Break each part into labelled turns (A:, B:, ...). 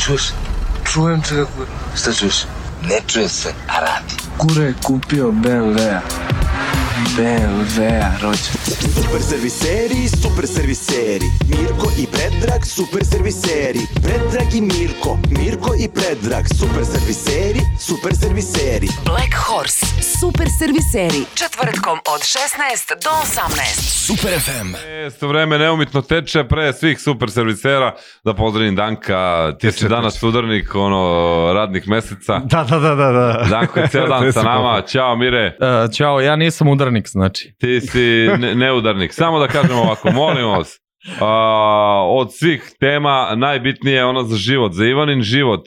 A: čuješ?
B: Čujem se kako...
A: Šta čuješ? Ne čuje se, a radi.
B: Kure je kupio BMW-a. BMW-a, rođen.
C: Super serviseri, super serviseri Mirko i Predrag, super serviseri Predrag i Mirko, Mirko i Predrag Super serviseri, super serviseri
D: Black Horse. Super serviseri. Četvrtkom od 16 do 18.
E: Super FM.
F: Jest, vreme neumitno teče pre svih super servisera. Da pozdravim Danka, ti si danas sudarnik ono, radnih meseca.
G: Da, da, da, da. da.
F: Danko je ceo dan sa nama. Ćao Mire,
G: E, Ćao, ja nisam udarnik, znači.
F: ti si ne- neudarnik. Samo da kažem ovako, molim vas. A, od svih tema najbitnije je ono za život, za Ivanin život.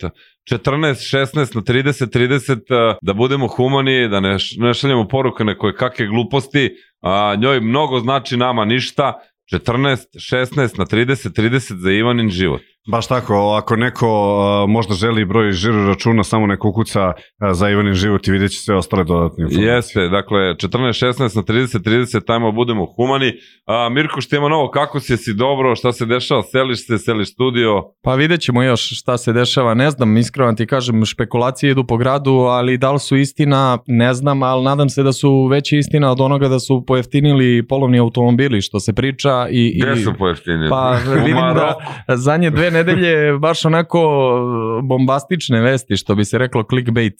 F: 14, 16 na 30, 30, a, da budemo humani, da ne, š- ne šaljemo poruke na koje kakve gluposti, a, njoj mnogo znači nama ništa, 14, 16 na 30, 30 za Ivanin život.
H: Baš tako, ako neko a, možda želi broj žiro računa, samo neko ukuca a, za Ivanin život i vidjet će sve ostale dodatne informacije.
F: Jeste, dakle, 14-16 na 30-30, tajmo budemo humani. A, Mirko Štima Novo, kako si, jesi dobro, šta se dešava, seliš se, seliš studio,
G: Pa vidjet ćemo još šta se dešava, ne znam, iskreno ti kažem, špekulacije idu po gradu, ali da li su istina, ne znam, ali nadam se da su veći istina od onoga da su pojeftinili polovni automobili, što se priča i... i...
F: gde su pojeftinili?
G: Pa vidim
F: U
G: da
F: Maroku.
G: zadnje dve nedelje baš onako bombastične vesti, što bi se reklo clickbait. E,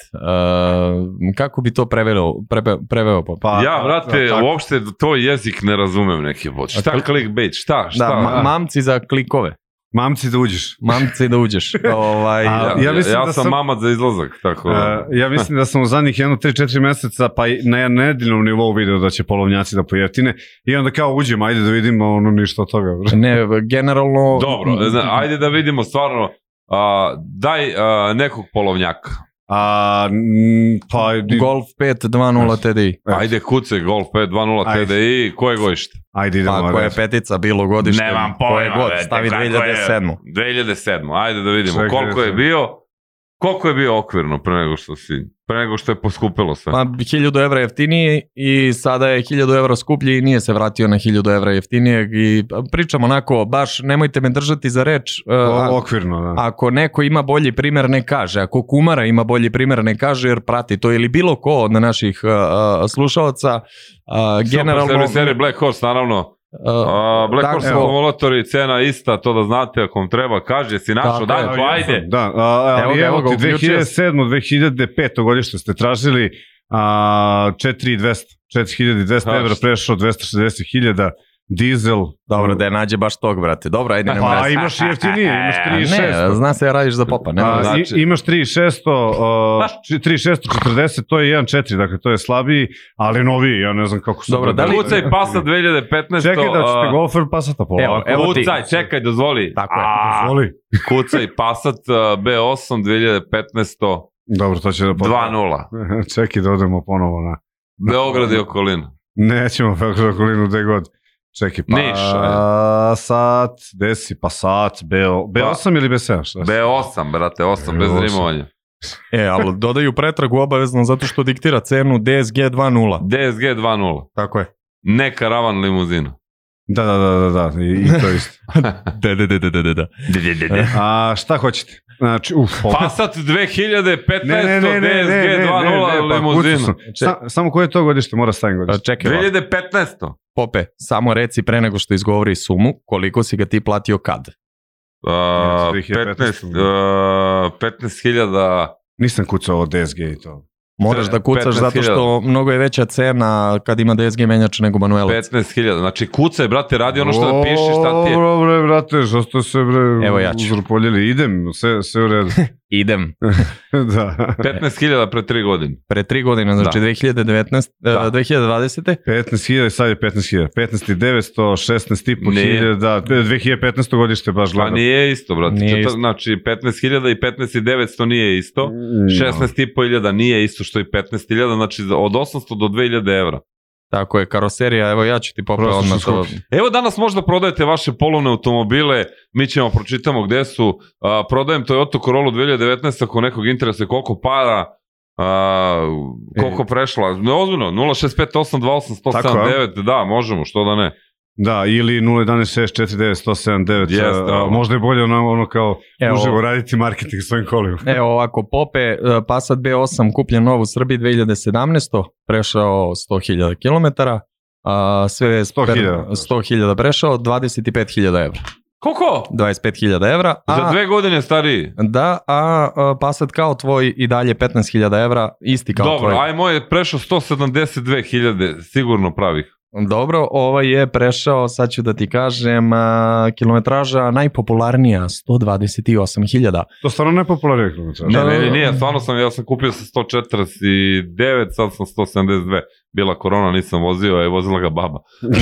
G: kako bi to prevelo, preve, preveo? Pop?
H: Pa,
F: ja, brate,
H: tako.
F: uopšte to jezik ne razumem neki put. Šta
G: A
F: clickbait, šta, šta?
G: Da, ma- mamci za klikove.
H: Mamci da uđeš.
G: Mamci da uđeš. Ovaj,
H: A,
F: ja, ja,
H: ja mislim da
F: sam
H: sam- E,
F: mamac za izlazak, tako.
H: A, Eh, ja mislim da sam u zadnjih jedno 3-4 meseca pa i na nedeljnom nivou video da će polovnjaci da pojeftine i onda kao uđem, ajde da vidim, a ono ništa od toga. bre.
G: Ne, generalno...
F: Dobro, ne znam, ajde da vidimo stvarno, a, daj a, nekog polovnjaka.
H: A, m, pa, i-
G: Golf 5 2.0 TDI.
H: Eto.
F: Ajde kuce Golf 520
H: Ajde.
F: TDI, koje godište?
H: ajde idemo.
G: Pa koja je
H: red.
G: petica bilo godište?
F: Nemam
G: Koje
F: pojma.
G: god,
F: brate,
G: stavi
F: kako je
G: 2007.
F: 2007. Ajde da vidimo
H: Čekaj,
F: koliko je
H: jesam.
F: bio. Koliko je bio okvirno pre nego što si, pre nego što je poskupilo sve.
G: Ma 1000 evra jeftiniji i sada je 1000 evra skuplji i nije se vratio na 1000 evra jeftinijeg i pa, pričam onako, baš nemojte me držati za reč. e, a-
H: O, okvirno, da.
G: Ako neko ima bolji primer, ne kaže. Ako Kumara ima bolji primer, ne kaže jer prati to. Ili bilo ko od naših uh, slušalaca. Uh, generalno...
F: Super serviseri Black Horse, naravno.
G: uh,
F: A, Black
G: Tako.
F: Horse akumulatori, cena ista, to da znate ako vam treba. Kaže, si našao,
G: Tako
F: daj,
G: je.
F: pa ajde.
H: Da, a,
G: E, Evo
H: ali
G: ga,
H: evo,
G: evo ga,
H: ti
G: uključio
H: 2007. 2005. godište ste tražili a, 4200, 4200
F: Ha,
H: evra
F: šta?
H: prešao 260.000 dizel.
G: Dobro, da je nađe baš tog, brate. Dobro, ajde, nemoj
H: Pa
G: da-
H: imaš i jeftinije, imaš
F: Ne,
H: 3600.
G: Ne, zna se ja radiš za popa, E, ne? Pa.
H: A,
G: moraš-
F: znači-
H: i, imaš 3600, uh, 3640, to je 1.4, dakle to je slabiji, ali noviji, ja ne znam kako se...
G: Dobro, da li-
F: Kucaj pasa 2015.
H: Čekaj da ćete
F: a,
H: golfer pasata polako.
G: Evo, evo ti.
F: Kucaj, čekaj, dozvoli.
G: Tako je,
F: A,
H: Voli.
F: Kucaj Passat a, B8 2015
H: Dobro, to će da...
F: 2-0.
H: Čekaj da odemo ponovo na...
F: Beograd i okolina.
H: Nećemo Beograd okolinu gde god. Čekaj, pa...
F: Niš, ajde. Pa-
H: Sat, gde si, pa sat, B, B8 ili B7? Šta si?
F: B8, brate, 8, bez
H: B8.
F: rimovanja.
G: E, ali dodaju pretragu obavezno zato što diktira cenu DSG 2.0.
F: DSG 2.0.
G: Tako je.
F: Ne karavan limuzina.
H: Da, da, da, da, da, i, i to isto.
G: Da, da, da, da, da, da.
H: A šta hoćete? Znači, uf, ovo-
F: Passat 2015, DSG
H: ne,
F: 2.0
H: pa kucu
F: limuzina.
H: sam. Sa, samo koje je to godište, mora stavim
F: Pa
G: A,
H: godište.
G: Čekaj, ovako.
F: 2015.
G: Pope, samo reci pre nego što izgovori sumu, koliko si ga ti platio kad?
F: Uh, 15,
H: 2015.
F: uh, 15.000
H: Nisam kucao DSG i to.
G: Moraš da kucaš
F: 15.000.
G: zato što mnogo je veća cena kad ima DSG menjač nego manuelac.
F: 15.000, znači kucaj, brate, radi ono što da piše, šta ti je.
H: Dobro, bre, brate, što ste se, bre,
G: Evo, ja ću.
H: uzurpoljili. Idem, sve, sve u redu.
G: Idem.
H: da.
F: 15.000 pre 3 godine.
G: Pre tri godine, znači 2019, e, 2020.
H: 15.000, sad je 15.000. 15.900, 16.500, da, 2015. godište baš
F: Pa
H: gledam.
F: nije isto, brate.
G: Nije
F: Četvr-
G: isto.
F: Znači, 15.000 i 15.900 nije isto.
H: Mm.
F: 16.500 nije isto što i 15.000, znači za- od 800 do 2.000 evra.
G: Tako je, karoserija, evo ja ću ti Pope
H: Prosto su
G: odmah to.
F: Evo danas možda prodajete vaše polovne automobile, mi ćemo pročitamo gde su. A, prodajem Toyota Corolla 2019 ako nekog interesa koliko para, a,
G: E.
F: koliko prešla. Ne, ozbiljno, 065828179, da, možemo, što da ne.
H: Da, ili 011649179.
F: Jeste,
H: Yes,
F: ovo.
H: možda je bolje ono, ono kao
G: Evo.
H: Evo. uživo raditi marketing svojim kolima.
G: Evo ovako, Pope, e, Passat B8 kupljen nov u Srbiji 2017. Prešao 100.000 km. A, sve je
H: 100.000.
G: 100.000 prešao, 25.000 evra.
F: Koliko?
G: 25.000 evra. A,
F: Za dve godine stariji.
G: Da, a, a Passat kao tvoj i dalje 15.000 evra, isti kao
F: Dobro,
G: tvoj.
F: aj moj je prešao 172.000 sigurno pravih.
G: Dobro, ovaj je prešao, sad ću da ti kažem, a, kilometraža najpopularnija, 128.000.
H: To stvarno nepopularno je kilometar.
F: Ne,
G: Da, da,
F: ne,
G: da.
F: nije, stvarno sam, ja sam kupio sa 149, sad sam 172. Bila korona, nisam vozio, je vozila ga baba.
G: E,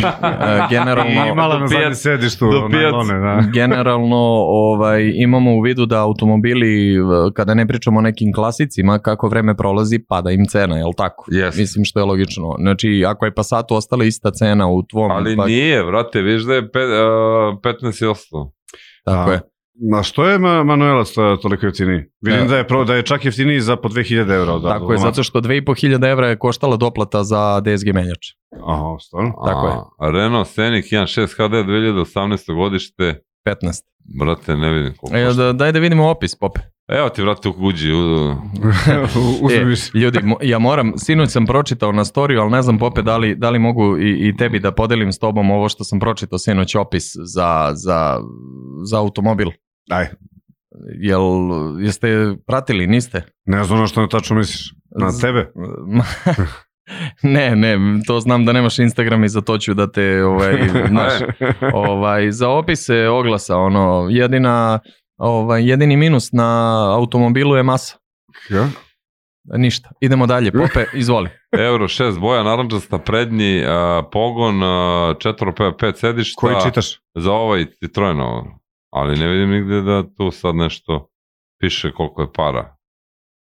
H: I
G: Generalno,
H: imala
F: do
H: na zadnjem
F: pijac-
H: sedištu,
F: do pijac.
H: najlone, da.
G: generalno ovaj, imamo u vidu da automobili, e, kada ne pričamo o nekim klasicima, kako vreme prolazi, pada im cena, jel tako?
F: Jeste.
G: Mislim što je logično. Znači, ako je Passatu ostala ista cena u tvom...
F: Ali
G: pa-
F: nije, vrate, viš da je pe, uh, 15 i 800.
G: Tako je.
H: Ma što je Ma- Manuelac to- toliko jeftiniji? Vidim
F: E.
G: Da.
H: da, je, pro, da je čak jeftiniji za po 2000 evra. Od,
G: Tako je, zato što 2500 evra je koštala doplata za DSG menjač.
H: Aha, stvarno.
G: Tako
F: je. Renault Scenic 1.6 HD 2018. godište.
G: 15.
F: Brate, ne vidim koliko.
G: E,
F: E,
G: da, daj da vidimo opis, Pope.
F: Evo ti, vrate, u Guđi. U...
H: U- Uzmi
G: E,
H: više.
G: ljudi, mo- ja moram, sinoć sam pročitao na storiju, ali ne znam, Pope, da li, da li mogu i, i tebi da podelim s tobom ovo što sam pročitao sinoć opis za, za, za automobil.
H: Aj,
G: Jel, jeste pratili, niste?
H: ne znam na što ne tačno misliš. Na
G: Z-
H: tebe?
G: ne, ne, to znam da nemaš Instagram i za to ću da te, ovaj, znaš,
F: E,
G: ovaj, za opise oglasa, ono, jedina, ovaj, jedini minus na automobilu je masa.
H: Ja?
G: Ništa. Idemo dalje, Pope, izvoli.
F: Euro 6 boja, naranđasta, prednji uh, pogon, uh, 4-5 sedišta.
H: Koji čitaš?
F: Za ovaj Citroen ovo. Ali ne vidim nigde da tu sad nešto piše koliko je para.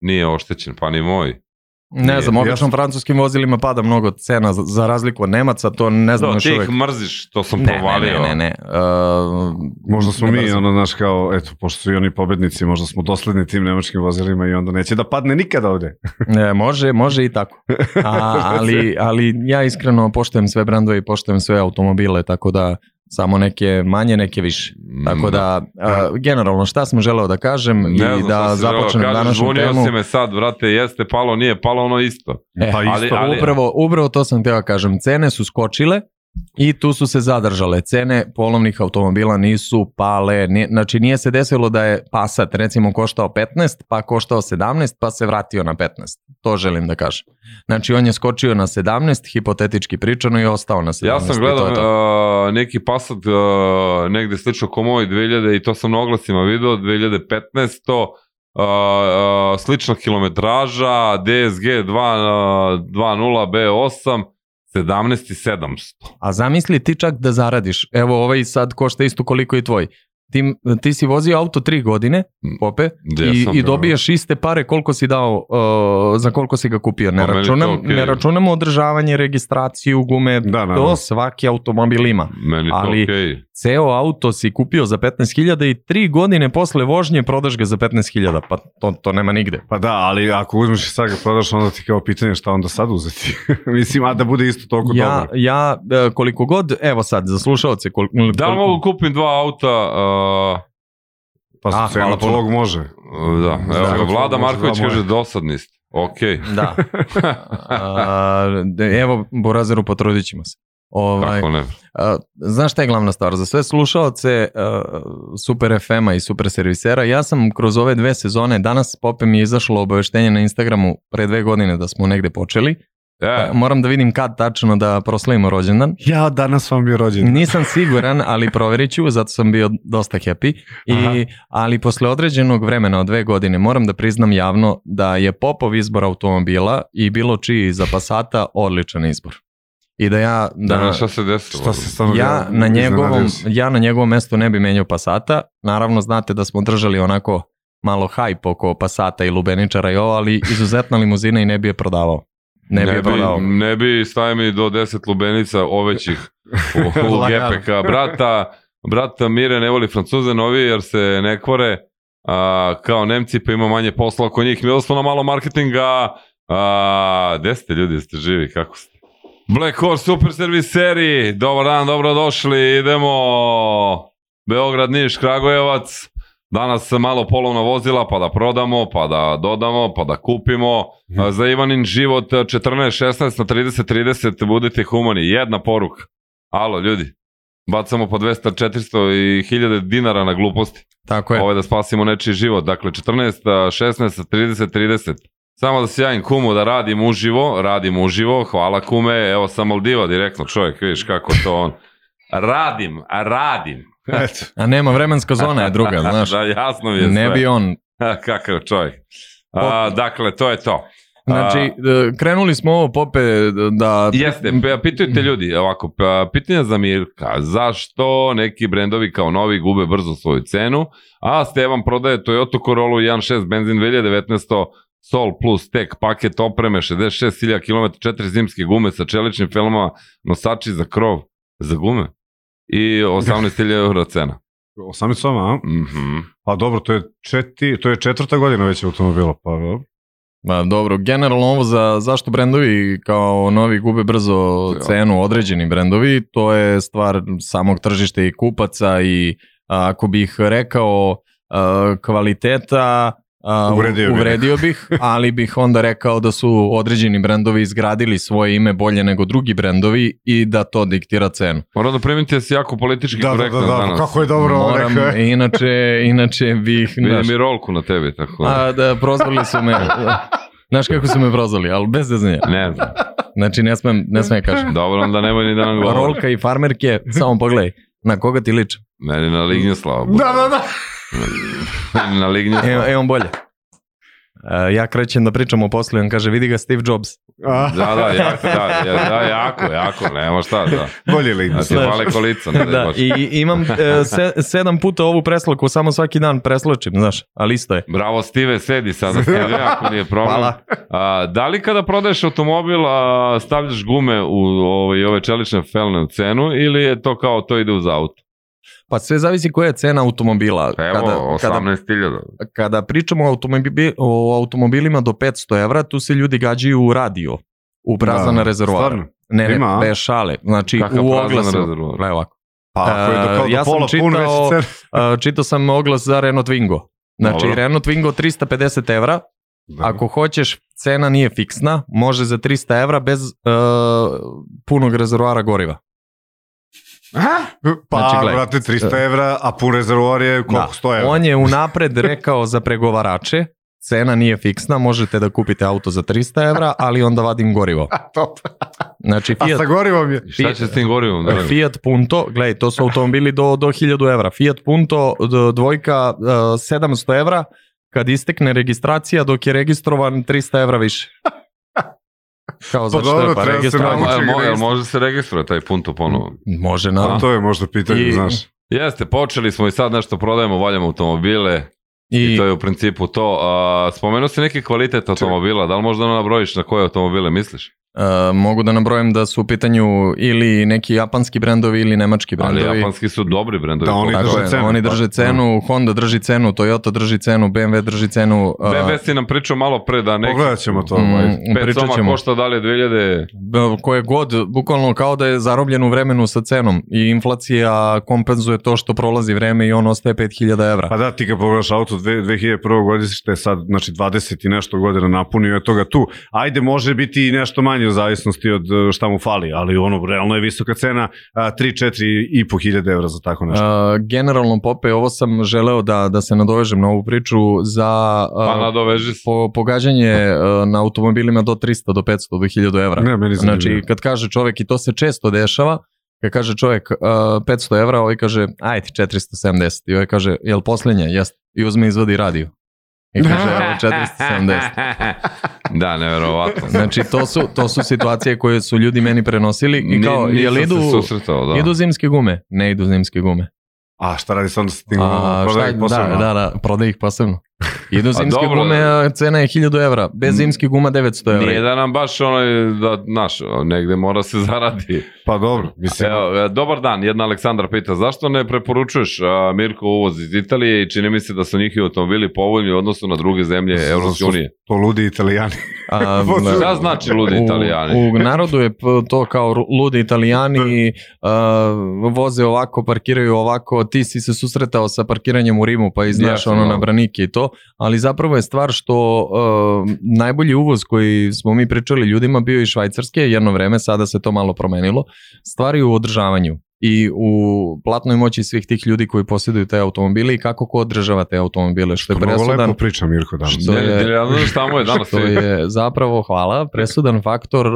F: Nije oštećen, pa ni moj.
G: Ne znam,
H: Nije,
G: obično
H: jasno.
G: francuskim vozilima pada mnogo cena za, za razliku od Nemaca, to ne znam
F: Da,
G: još
F: ti
G: uvek.
F: ih mrziš, to sam
G: Ne, ne,
F: provalio.
G: ne, ne, ne. Uh,
H: Možda smo
G: ne
H: mi,
G: mrzim.
H: ono, znaš, kao, eto, pošto su i oni pobednici, možda smo dosledni tim nemačkim vozilima i onda neće da padne nikada ovde.
G: Ne, E, može, može i tako. A, ali, ali ja iskreno poštujem sve brandove i poštujem sve automobile, tako da samo neke manje, neke više. Tako da, a, generalno šta sam želeo da kažem
F: Mm. Ne znam
G: i
F: šta
G: da
F: si želeo
G: započnem
F: kažeš,
G: današnju
F: zvonio
G: temu.
F: si me sad, vrate, jeste palo, nije palo, ono isto.
G: E,
H: pa
F: ali-
H: isto,
F: ali-
G: Upravo, upravo to sam teo da kažem. Cene su skočile i tu su se zadržale. Cene polovnih automobila nisu pale. Nije, znači nije se desilo da je Passat recimo koštao 15, pa koštao 17, pa se vratio na 15. To želim da kažem. Znači on je skočio na 17, hipotetički pričano i ostao na 17.
F: Ja sam
G: i
F: gledao
G: to je to.
F: uh, neki pasat uh, negde slično ko moj 2000 i to sam na oglasima video 2015. Uh, uh, slična kilometraža DSG 2, uh, 2.0 B8 17.700
G: A zamisli ti čak da zaradiš. Evo ovaj sad košta isto koliko i tvoj. Ti, ti si vozio auto tri godine, Pope,
F: Gde
G: I,
F: sam,
G: i
F: da.
G: dobiješ iste pare koliko si dao, uh, za koliko si ga kupio. Ne,
F: Pa meni
G: računam,
F: to okej.
G: ne računamo održavanje, registraciju, gume,
H: Da, da, da.
G: to svaki automobil ima.
F: Meni to
G: Ali-
F: okej. Okay.
G: Ceo auto si kupio za 15.000 i tri godine posle vožnje prodaš ga za 15.000, pa to, to nema nigde.
H: Pa da, ali ako uzmeš i sad ga prodaš, onda ti kao pitanje šta onda sad uzeti. Mislim, a da bude isto toliko
G: Ja,
H: dobro.
G: ja e, koliko god, evo sad, za slušalce, koliko,
F: Da li mogu kupim dva auta uh,
H: Pa
G: Ah,
H: sa
G: hvala
H: cenom
G: puno.
H: tvog može.
F: eh, da,
H: Da,
F: evo ga, Vlada
H: možda
F: Marković
H: dva moja.
F: kaže dosadni ste okej,
G: Da. A, de- evo, Borazeru, potrudit ćemo se. Ovaj,
F: kako ne
G: A, znaš šta je glavna stvar? Za sve slušaoce uh, Super FM-a i Super servisera, ja sam kroz ove dve sezone, danas pope mi je izašlo obaveštenje na Instagramu pre dve godine da smo negde počeli.
F: e,
G: Pa Moram da vidim kad tačno da proslavimo rođendan.
H: Ja, danas vam je rođen.
G: Nisam siguran, ali proverit ću, zato sam bio dosta happy. I, ali posle određenog vremena od dve godine moram da priznam javno da je popov izbor automobila i bilo čiji za Passata odličan izbor. I da ja...
F: da,
G: Da,
F: šta se desilo
H: Šta se stvarno
G: ja na
H: iznenadio
G: njegovom
H: si?
G: ja na njegovom mestu ne bi menjao Passata. Naravno znate da smo držali onako malo hype oko Passata i Lubeničara i ovo, ali izuzetna limuzina i ne bi je prodavao. Ne, bi je prodavao.
F: ne bi staje mi do 10 lubenica ovećih u, u
H: Lagano.
F: GPK. Brata, brata Mire ne voli francuze novi jer se ne kvore a, kao nemci pa ima manje posla ono oko njih. Mi odnosno na malo marketinga. A, gde ste ljudi, jeste živi, kako ste? Black Horse Super Servis seriji. Dobar dan, dobrodošli. Idemo Beograd, Niš, Kragujevac. Danas malo polovna vozila, pa da prodamo, pa da dodamo, pa da kupimo. A Za Ivanin život 14-16 na 30-30 budite humani. Jedna poruka. Alo, ljudi. Bacamo po 200, 400 i 1000 dinara na gluposti.
G: Tako je.
F: Ovo je da spasimo nečiji život. Dakle, 14, 16, 30, 30. Samo da se javim kumu da radim uživo, radim uživo, hvala kume, evo sam Maldiva direktno čovjek, vidiš kako to on. Radim, a radim.
H: Eto.
G: A nema vremenska zona je druga, znaš.
F: da, jasno mi je
G: Ne
F: sve.
G: bi on.
F: Kakav čovjek. A, dakle, to je to.
G: Znači, e, krenuli smo ovo pope da...
H: Pa
F: Jeste, pe- pitaju te ljudi, ovako, pa, pitanje za Mirka, zašto neki brendovi kao novi gube brzo svoju cenu, a Stevan prodaje Toyota Corolla 1.6 benzin 2019 Sol plus tek paket opreme 66.000 km, četiri zimske gume sa čeličnim filmama, nosači za krov, za gume i 18.000 eura cena.
H: 18 soma, a?
F: Mhm.
H: Pa dobro, to je, četi, to je četvrta godina već automobila, pa dobro.
G: Ma, dobro, generalno ovo za zašto brendovi kao novi gube brzo
F: Ja.
G: cenu određeni brendovi, to je stvar samog tržišta i kupaca i a, ako bih rekao a, kvaliteta a, u-
H: Uvredio bih.
G: uvredio bih, ali bih onda rekao da su određeni brendovi izgradili svoje ime bolje nego drugi brendovi i da to diktira cenu.
F: Moram da primim ti da si jako politički
H: Da, da, da,
F: korektan
H: da, pa
F: danas.
H: kako je dobro ovo
G: Moram,
H: rekao. e.
G: inače, inače bih... znaš,
F: Vidim i rolku na tebi, tako da.
G: A, da, prozvali su me. Znaš kako su me prozvali, ali bez zeznja.
F: Ne znam.
G: Znači, ne smem, ne smem kažem.
F: Dobro, onda nemoj ni da nam govori.
G: Rolka i farmerke, samo pogledaj. Na koga ti liče?
F: Meni na Lignjeslava.
H: Da, da, da.
F: Meni na
G: Evo,
F: Lignjeslava.
G: evo e, bolje. E, ja krećem da pričam o poslu i on kaže, vidi ga Steve Jobs.
H: A,
F: Da, da, jako, da, ja- da, jako, jako, nema šta, da.
H: bolje li?
F: Da ti
G: Znaš.
F: male kolica, ne da,
G: da,
F: baš.
G: i i imam e, se, sedam puta ovu preslaku, samo svaki dan preslačim, znaš, ali isto je.
F: Bravo, Steve, sedi sada, Steve, ako nije problem.
G: Hvala.
F: A, da li kada prodaješ automobil, a, stavljaš gume u ove, ove čelične felne u cenu ili je to kao to ide uz auto?
G: Pa sve zavisi koja je cena automobila.
F: Pa Evo,
G: kada,
F: 18.000.
G: kada pričamo o, automobi- o automobilima do 500 evra, tu se ljudi gađaju u radio, u prazan
H: Da,
G: da, rezervoar.
H: Stvarno?
G: Ne, ne,
H: Ima, a?
G: bez šale. Znači,
F: Kakav
G: u
F: prazan
G: oglasu.
F: rezervoar?
G: Gle ovako.
H: Pa ako je do, kao
G: E,
H: do
G: ja sam
H: pola pun već
G: čitao-
H: cena.
G: E, čitao sam oglas za Renault Twingo. Znači,
F: Dobro.
G: Renault Twingo 350 evra. Ako hoćeš, cena nije fiksna. Može za 300 evra bez e, punog rezervoara goriva.
H: Pa,
G: Znači, gledaj.
H: brate, 300 evra, a pun rezervoar je koliko 100 evra.
G: On je unapred rekao za pregovarače, cena nije fiksna, možete da kupite auto za 300 evra, ali onda vadim gorivo.
H: Top.
G: Znači,
H: A
G: Fiat,
H: sa gorivom je.
F: Šta će s tim gorivom? Da,
G: Fiat Punto, gledaj, to su automobili do, do 1000 evra. Fiat Punto d- dvojka e, 700 evra, kad istekne registracija, dok je registrovan 300 evra više. Kao za što
H: dobro,
G: je pa
H: treba se
G: registrovan.
H: naučiti.
F: Jel mo- jel može se registruje taj punto ponovo?
G: Može,
H: A
G: naravno.
H: Pa, to je možda pitanje,
G: I-
H: znaš.
F: Jeste, počeli smo i sad nešto prodajemo, valjamo automobile, I,
G: I,
F: to je u principu to. A, spomenuo si neki kvalitet automobila, da li možda nabrojiš na koje automobile misliš?
G: e, mogu da nabrojem da su u pitanju ili neki japanski brendovi ili nemački
F: Ali
G: brendovi.
F: japanski su dobri brendovi.
H: Da, oni
F: Tako-
G: Tako
H: drže
G: je,
H: cenu,
G: Oni
H: pa.
G: drže cenu, Honda drži cenu, Toyota drži cenu, BMW drži cenu. e,
F: BB si nam pričao malo pre da neki
H: Pogledat ćemo to.
G: Mm.
H: ovaj.
F: pet
G: pričat
F: soma
G: ćemo.
F: košta da li je 2000...
G: b- koje god, bukvalno kao da je zarobljen u vremenu sa cenom i inflacija kompenzuje to što prolazi vreme i on ostaje 5000 evra.
H: Pa da, ti kad pogledaš auto dve- 2001. godište je sad, znači 20 i nešto godina napunio je toga tu. Ajde, može biti i nešto manje u zavisnosti od e, šta mu fali, ali ono, realno je visoka cena, e, 3-4,5 hiljada evra za tako nešto.
G: E, generalno, Pope, ovo sam želeo da, da se nadovežem na ovu priču za e,
F: Pa nadoveži se.
G: po, pogađanje e, na automobilima do 300, do 500, do 1000 evra.
H: Ne, meni zanimljivo.
G: Znači, kad kaže čovek, i to se često dešava, kad kaže čovek uh, 500 evra, ovaj kaže, ajde, 470. I ovaj kaže, jel poslednja? Jeste. I uzme i izvadi radio. I kaže, evo, 470.
F: da, neverovatno.
G: Znači, to su, to su situacije koje su ljudi meni prenosili i kao,
F: Ni-
G: jel
F: nisam
G: idu,
F: se susretao, da.
G: idu zimske gume? Ne idu zimske gume.
H: A šta radi se onda sa tim? ono,
G: A,
H: Prodaje
G: šta,
H: ih posebno?
G: da, da, da, prodaj ih posebno. Idu zimske
F: dobro.
G: gume, a cena je 1000 evra. Bez zimskih guma 900 evra.
F: Nije da nam baš onaj, da, znaš, negde mora se zaradi.
H: Pa dobro, mislim,
F: Evo, e, dobar dan, jedna Aleksandra pita, zašto ne preporučuješ a, Mirko uvoz iz Italije i čini mi se da su njihovi automobili povoljni u odnosu na druge zemlje Evropske
H: su-
F: unije.
H: to ludi italijani.
G: A,
H: Šta
G: da.
F: znači ludi Italijani?
G: Pa, U, u narodu je p- to kao ru- ludi italijani, a, voze ovako, parkiraju ovako, ti si se susretao sa parkiranjem u Rimu, pa i znaš
F: Jasno.
G: ono na branike i to, ali zapravo je stvar što a, najbolji uvoz koji smo mi pričali ljudima bio i švajcarske, jedno vreme, sada se to malo promenilo, stvari u održavanju i u platnoj moći svih tih ljudi koji posjeduju te automobile i kako ko održava te automobile, što je
H: Mnogo
G: presudan
H: lepo priča Mirko danas.
G: to
F: Ne,
G: je-
F: ne, ja ne znam šta mu je danas.
G: što je zapravo, hvala, presudan faktor uh,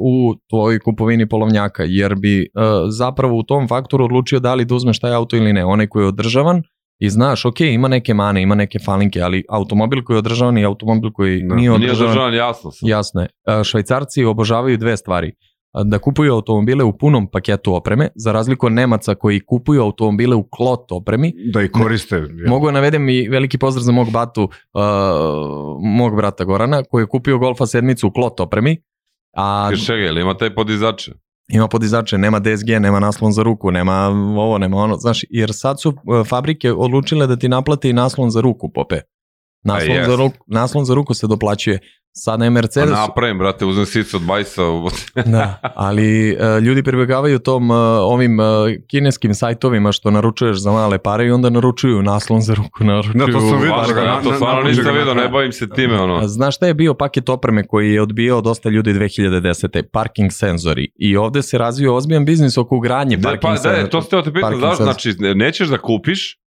G: u tvojoj kupovini polovnjaka, jer bi uh, zapravo u tom faktoru odlučio da li da uzmeš taj auto ili ne, onaj koji je održavan i znaš, ok, ima neke mane, ima neke falinke, ali automobil koji je održavan i automobil koji
H: Da.
G: nije
F: Nije
G: održavan,
F: održavan, jasno sam.
G: jasno je. Uh, Švajcarci obožavaju dve stvari Uh, da kupuju automobile u punom paketu opreme, za razliku od Nemaca koji kupuju automobile u klot opremi
H: Da i koriste. jel?
G: Mogu da navedem i veliki pozdrav za mog batu, uh, mog brata Gorana, koji je kupio Golfa sedmicu u klot opremi, a
F: Jer čega, jel ima taj podizače? Pa
G: ima podizače, nema DSG, nema naslon za ruku, nema ovo, nema ono, znaš, jer sad su uh, fabrike odlučile da ti naplate i naslon za ruku, pope. Naslon,
F: jest.
G: za ruku, naslon za ruku se doplaćuje. Sada je
F: Pa
G: Mercedes,
F: napravim, brate, uzem sicu od bajsa.
G: da, ali e, ljudi pribegavaju tom e, ovim e, kineskim sajtovima što naručuješ za male pare i onda naručuju naslon za ruku, naručuju
H: Da, to sam vidio
F: Baš,
H: da ga
F: ja
H: na-
F: to
H: na-
F: stvarno
H: na-
F: nisam
H: na-
F: vidio, ne bavim se time,
G: A
F: ono.
G: Znaš šta je bio paket opreme koji je odbijao dosta ljudi 2010. Parking senzori. I ovde se razvio ozbiljan biznis oko ugradnje
F: Da,
G: parking
F: pa, da,
G: senzora.
F: je, to ste te pitao,
G: parking
F: znaš,
G: senzor.
F: znači, ne- nećeš da kupiš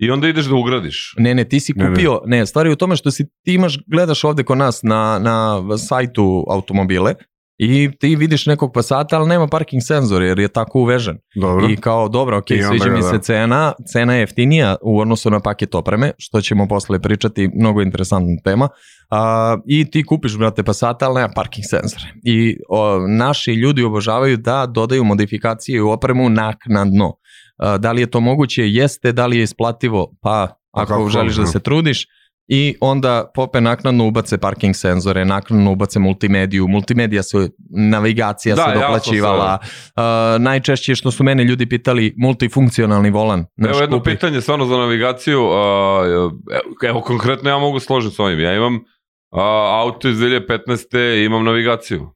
F: i onda ideš da ugradiš.
G: Ne, ne, ti si
H: Ne, ne.
G: kupio, ne, stvar je u tome što si, ti imaš, gledaš ovde kod nas na, na sajtu automobile i ti vidiš nekog pasata, ali nema parking senzor jer je tako uvežen.
H: Dobro.
G: I kao, dobro, ok,
H: I onda
G: sviđa
H: ga,
G: mi
H: da.
G: se cena, cena je jeftinija u odnosu na paket opreme, što ćemo posle pričati, mnogo interesantna tema. A, I ti kupiš, brate, Passata, ali nema parking senzore. I o, naši ljudi obožavaju da dodaju modifikacije u opremu naknadno. A, da li je to moguće? Jeste. Da li je isplativo? Pa, ako
H: kako,
G: želiš da
H: da.
G: se trudiš. I onda pope naknadno ubace parking senzore, naknadno ubace multimediju, multimedija se, navigacija
F: Da,
G: se
F: jasno,
G: doplaćivala, Uh, najčešće je što su mene ljudi pitali multifunkcionalni volan. Znaš,
F: Evo jedno
G: kupi-
F: pitanje stvarno za navigaciju. a, evo, evo, konkretno ja mogu složiti s ovim. Ja imam a, auto iz 2015. i imam navigaciju.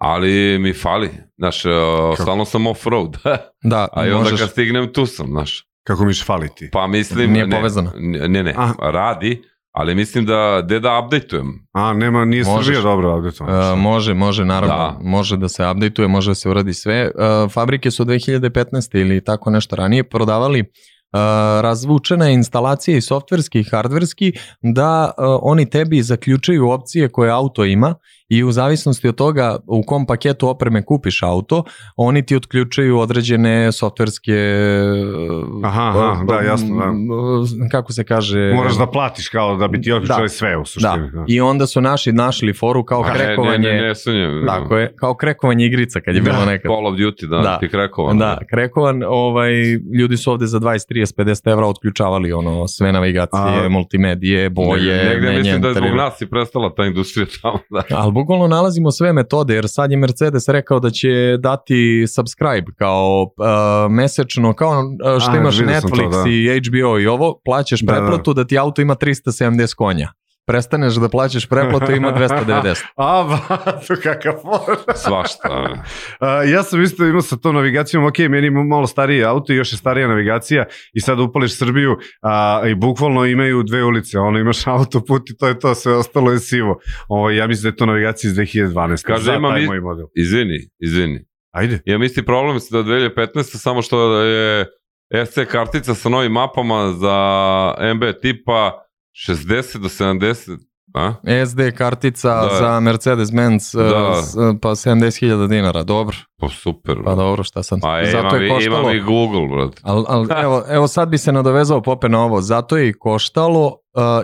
F: Ali mi fali. Znaš, a, stalno sam off-road.
G: Da,
F: A i onda
G: možeš,
F: kad stignem tu sam, znaš.
H: Kako mi će faliti?
F: Pa mislim...
G: Nije
F: ne,
G: povezano.
F: Ne, ne, ne,
H: Aha.
F: radi, ali mislim da, de da updateujem.
H: A, nema, nije
G: Možeš.
H: Srbija dobro updatovana.
G: uh, može, može, naravno.
F: Da.
G: Može da se updateuje, može da se uradi sve. Uh, fabrike su 2015. ili tako nešto ranije prodavali uh, razvučene instalacije i softverski i hardverski da uh, oni tebi zaključaju opcije koje auto ima i u zavisnosti od toga u kom paketu opreme kupiš auto, oni ti otključaju određene softverske uh,
H: Aha, aha, da, jasno, da.
G: da. Kako se kaže?
H: Moraš da platiš kao da bi ti otključali sve u
G: e- Da.
H: suštini. Da.
G: I onda su naši našli foru kao
F: A ne,
G: krekovanje.
F: Ne, ne, ne, sunjem.
G: Tako je, kao krekovanje igrica kad je bilo nekad.
F: Call of Duty, da,
G: Da.
F: ti ono. krekovan.
G: Da, krekovan, ovaj, ljudi su ovde za 20, 30, 50 evra otključavali ono, sve navigacije,
H: A-
G: multimedije, boje,
F: Negde mislim da je zbog
G: menjentari.
F: nas i prestala ta industrija tamo. Da.
G: Ali bukvalno nalazimo sve metode, jer sad je Mercedes rekao da će dati subscribe kao uh, mesečno, kao uh, što
H: A,
G: imaš
H: vidio sam to,
G: Netflix
H: da.
G: i HBO i ovo, plaćaš
H: Da, da.
G: pretplatu da, ti auto ima 370 konja. Prestaneš da plaćaš pretplatu ima 290.
H: A, vato, kakav for.
F: Svašta.
H: A, ja sam isto imao sa tom navigacijom, ok, meni ima malo stariji auto i još je starija navigacija i sad upališ Srbiju a, i bukvalno imaju dve ulice, ono imaš autoput i to je to, sve ostalo je sivo. Ovo, ja mislim da je to navigacija iz 2012.
F: Kaže,
H: Za
F: imam
H: taj
F: i-
H: moj model.
F: Izvini, izvini.
H: Ajde.
F: Imam isti problem sa 2015. samo što je SC kartica sa novim mapama za MB tipa 60 do 70 A?
G: SD kartica
F: Da.
G: da. za Mercedes-Benz e,
F: Da.
G: s- e, pa 70.000 dinara, dobro.
F: Pa super.
G: Pa dobro, šta sam.
F: Pa e, imam, i- imam i Google, brate.
G: Al, al, evo, evo sad bi se nadovezao Pope na ovo, zato je i koštalo uh,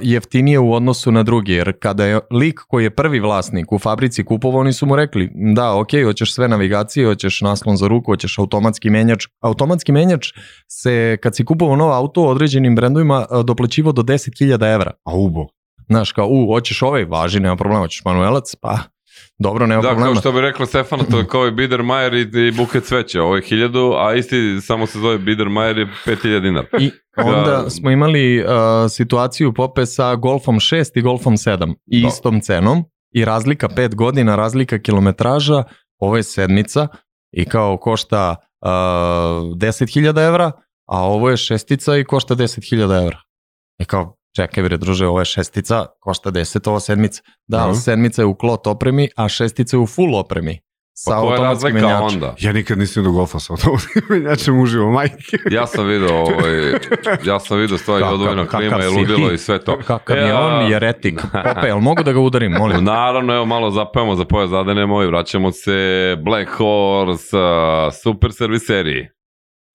G: jeftinije u odnosu na drugi, jer kada je lik koji je prvi vlasnik u fabrici kupovao, oni su mu rekli, da, ok, hoćeš sve navigacije, hoćeš naslon za ruku, hoćeš automatski menjač. Automatski menjač se, kad si kupovao novo auto, u određenim brendovima uh, doplaćivo do 10.000 evra.
H: A ubo.
G: Znaš, kao, u, hoćeš ovaj, važi, nema problema, hoćeš manuelac, pa, dobro, nema
F: Da,
G: problema.
F: kao što bi rekla Stefana, to je kao i Bider Majer i, i buket cveća. Ovo je hiljadu, a isti samo se zove Bider Majer i 5000 dinara. Pa
G: I onda
F: Da.
G: smo imali uh, situaciju Pope sa Golfom 6 i Golfom 7 i
F: Da.
G: istom cenom i razlika 5 godina, razlika kilometraža, ovo je sedmica i kao košta uh, 10.000 evra, a ovo je šestica i košta 10.000 evra. I kao, čekaj bre druže, ovo je šestica, košta 10, ovo je sedmica. Da,
F: Mhm.
G: ali sedmica je u klot opremi, a šestica je u full opremi. Sa
F: Pa koja je
G: automatskim
F: razlika
G: menjačem.
F: onda?
H: Ja nikad nisam do golfa sa automobilom menjačem uživo, majke.
F: Ja sam video, ovaj, ja sam video stvari
G: Kakav-
F: odvojena
G: kakav
F: klima i
G: si
F: ludilo
G: ti?
F: i sve to.
G: Kakav
F: E,
G: je
F: a-
G: on jeretik. Pope, jel mogu da ga udarim, molim?
F: Naravno, evo malo zapajemo za poja zadenemo i vraćamo se Black Horse, a, super serviseriji.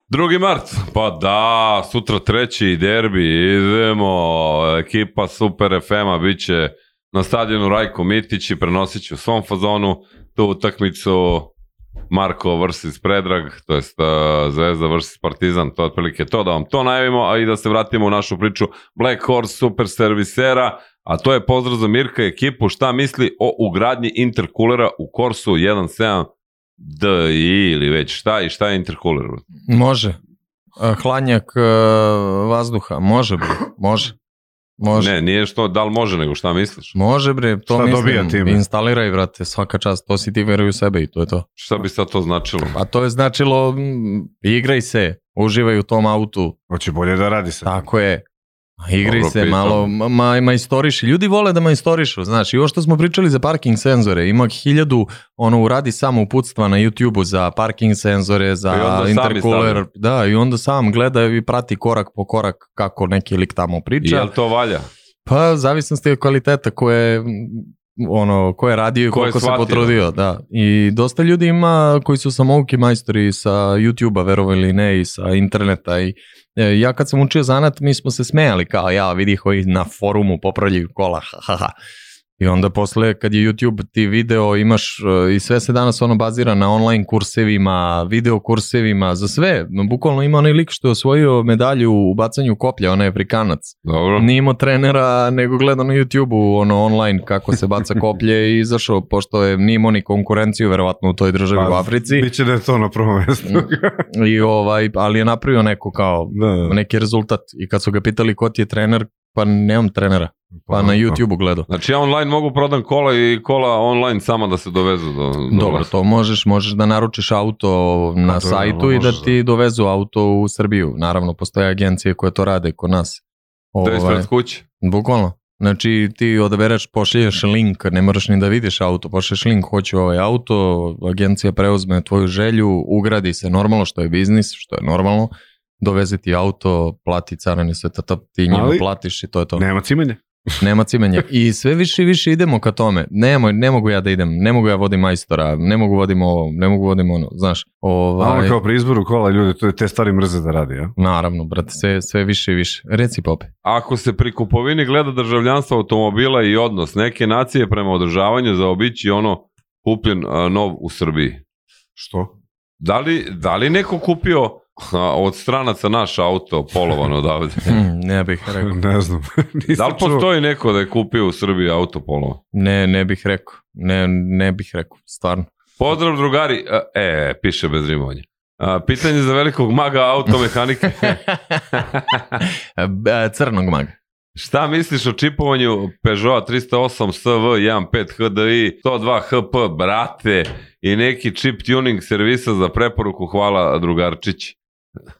F: Drugi mart, pa da, sutra treći derbi, idemo, ekipa Super FM-a bit će na stadionu Rajko Mitić i prenosit ću u svom fazonu tu utakmicu Marko vs. Predrag, to jest a, Zvezda vs. Partizan, to je otprilike to, da vam to najavimo, a i da se vratimo u našu priču Black Horse Super Servisera, a to je pozdrav za Mirka i ekipu, šta misli o ugradnji interkulera u Korsu 17 D ili već šta i šta je interkuler?
G: Može. E, Hladnjak e, vazduha, može bre, može. Može.
F: Ne, nije što da li može, nego šta misliš?
G: Može bre, to
H: Šta dobija
G: mislim,
H: time?
G: instaliraj vrate, svaka čast, to si ti veruj u sebe i to je to.
F: Šta bi sad to značilo?
G: A to je značilo, mm, igraj se, uživaj u tom autu,
H: Hoće bolje da radi sa
G: tako je. A Igraj
F: Dobro
G: se
F: pitanje.
G: malo, ma- ma, majstoriši. Ljudi vole da majstorišu, znaš, i ovo što smo pričali za parking senzore, ima hiljadu, ono, uradi samo uputstva na YouTube-u za parking senzore,
F: I onda
G: za
F: sami
G: intercooler,
F: stavljaju.
G: da, i onda sam gleda i prati korak po korak kako neki lik tamo priča.
F: Jel to valja?
G: Pa, zavisnosti od kvaliteta koje m, ono, ko je radio i
F: Ko je
G: koliko se
F: shvatio.
G: potrudio, da. I dosta ljudi ima koji su samouki majstori sa YouTube-a, verovali ili ne, i sa interneta. I, e, ja kad sam učio zanat, mi smo se smejali, kao ja, vidi koji na forumu popravljaju kola, ha, ha, ha. I onda posle, kad je YouTube ti video, imaš, e, i sve se danas ono bazira na online kursevima, video kursevima, za sve. Bukvalno ima onaj lik što je osvojio medalju u bacanju koplja, onaj Afrikanac.
F: Dobro.
G: Nije imao trenera, nego gledao na YouTube-u ono online kako se baca koplje i izašao, pošto je nije imao ni konkurenciju verovatno u toj državi
H: Pa,
G: u Africi. Mm.
H: Biće da je to na prvom mestu.
G: I ovaj, ali je napravio neko kao
H: da, da.
G: neki rezultat i kad su ga pitali ko ti je trener, pa nemam trenera, pa na YouTube-u gledao.
F: Znači ja online mogu prodam kola i kola online sama da se dovezu do, do
G: Dobro, to možeš, možeš da naručiš auto na
H: A to je,
G: sajtu
H: ono,
G: i da
H: možeš
G: ti dovezu auto u Srbiju. Naravno, postoje agencije koje to rade kod nas. Ovaj,
F: To je ispred kuće.
G: Bukvalno. Znači ti odabereš, pošlješ link, ne moraš ni da vidiš auto, pošlješ link, hoću ovaj auto, agencija preuzme tvoju želju, ugradi se normalno što je biznis, što je normalno, doveze ti auto, plati carani sve, tata, ti njima
H: Ali-
G: platiš i to je to.
H: Nema cimenja.
G: Nema cimenja. I sve više i više idemo ka tome. Nemo, ne mogu ja da idem, ne mogu ja vodim majstora, ne mogu vodim ovo, ne mogu vodim ono, znaš.
H: A
G: Ovaj,
H: ono kao pri izboru kola ljudi, to je te stvari mrze da radi, ja?
G: Naravno, brate, sve, sve više i više. Reci pope.
F: Ako se pri kupovini gleda državljanstvo automobila i odnos neke nacije prema održavanju za obići ono kupljen a, nov u Srbiji.
H: Što?
F: Da li, da li neko kupio a, od stranaca naš auto polovan odavde?
G: Hm, ne bih rekao.
H: Ne znam. Nisam
F: Da li
H: čuo.
F: postoji neko da je kupio u Srbiji auto polovan?
G: Ne, ne bih rekao. Ne, ne bih rekao, stvarno.
F: Pozdrav drugari, A, e, piše bez rimovanja. A, Pitanje za velikog maga automehanike.
G: E, B- Crnog maga. E,
F: Šta misliš o čipovanju Peugeot 308 SV 15 HDI 102 HP, brate, i neki chip tuning servisa za preporuku, hvala drugarčić.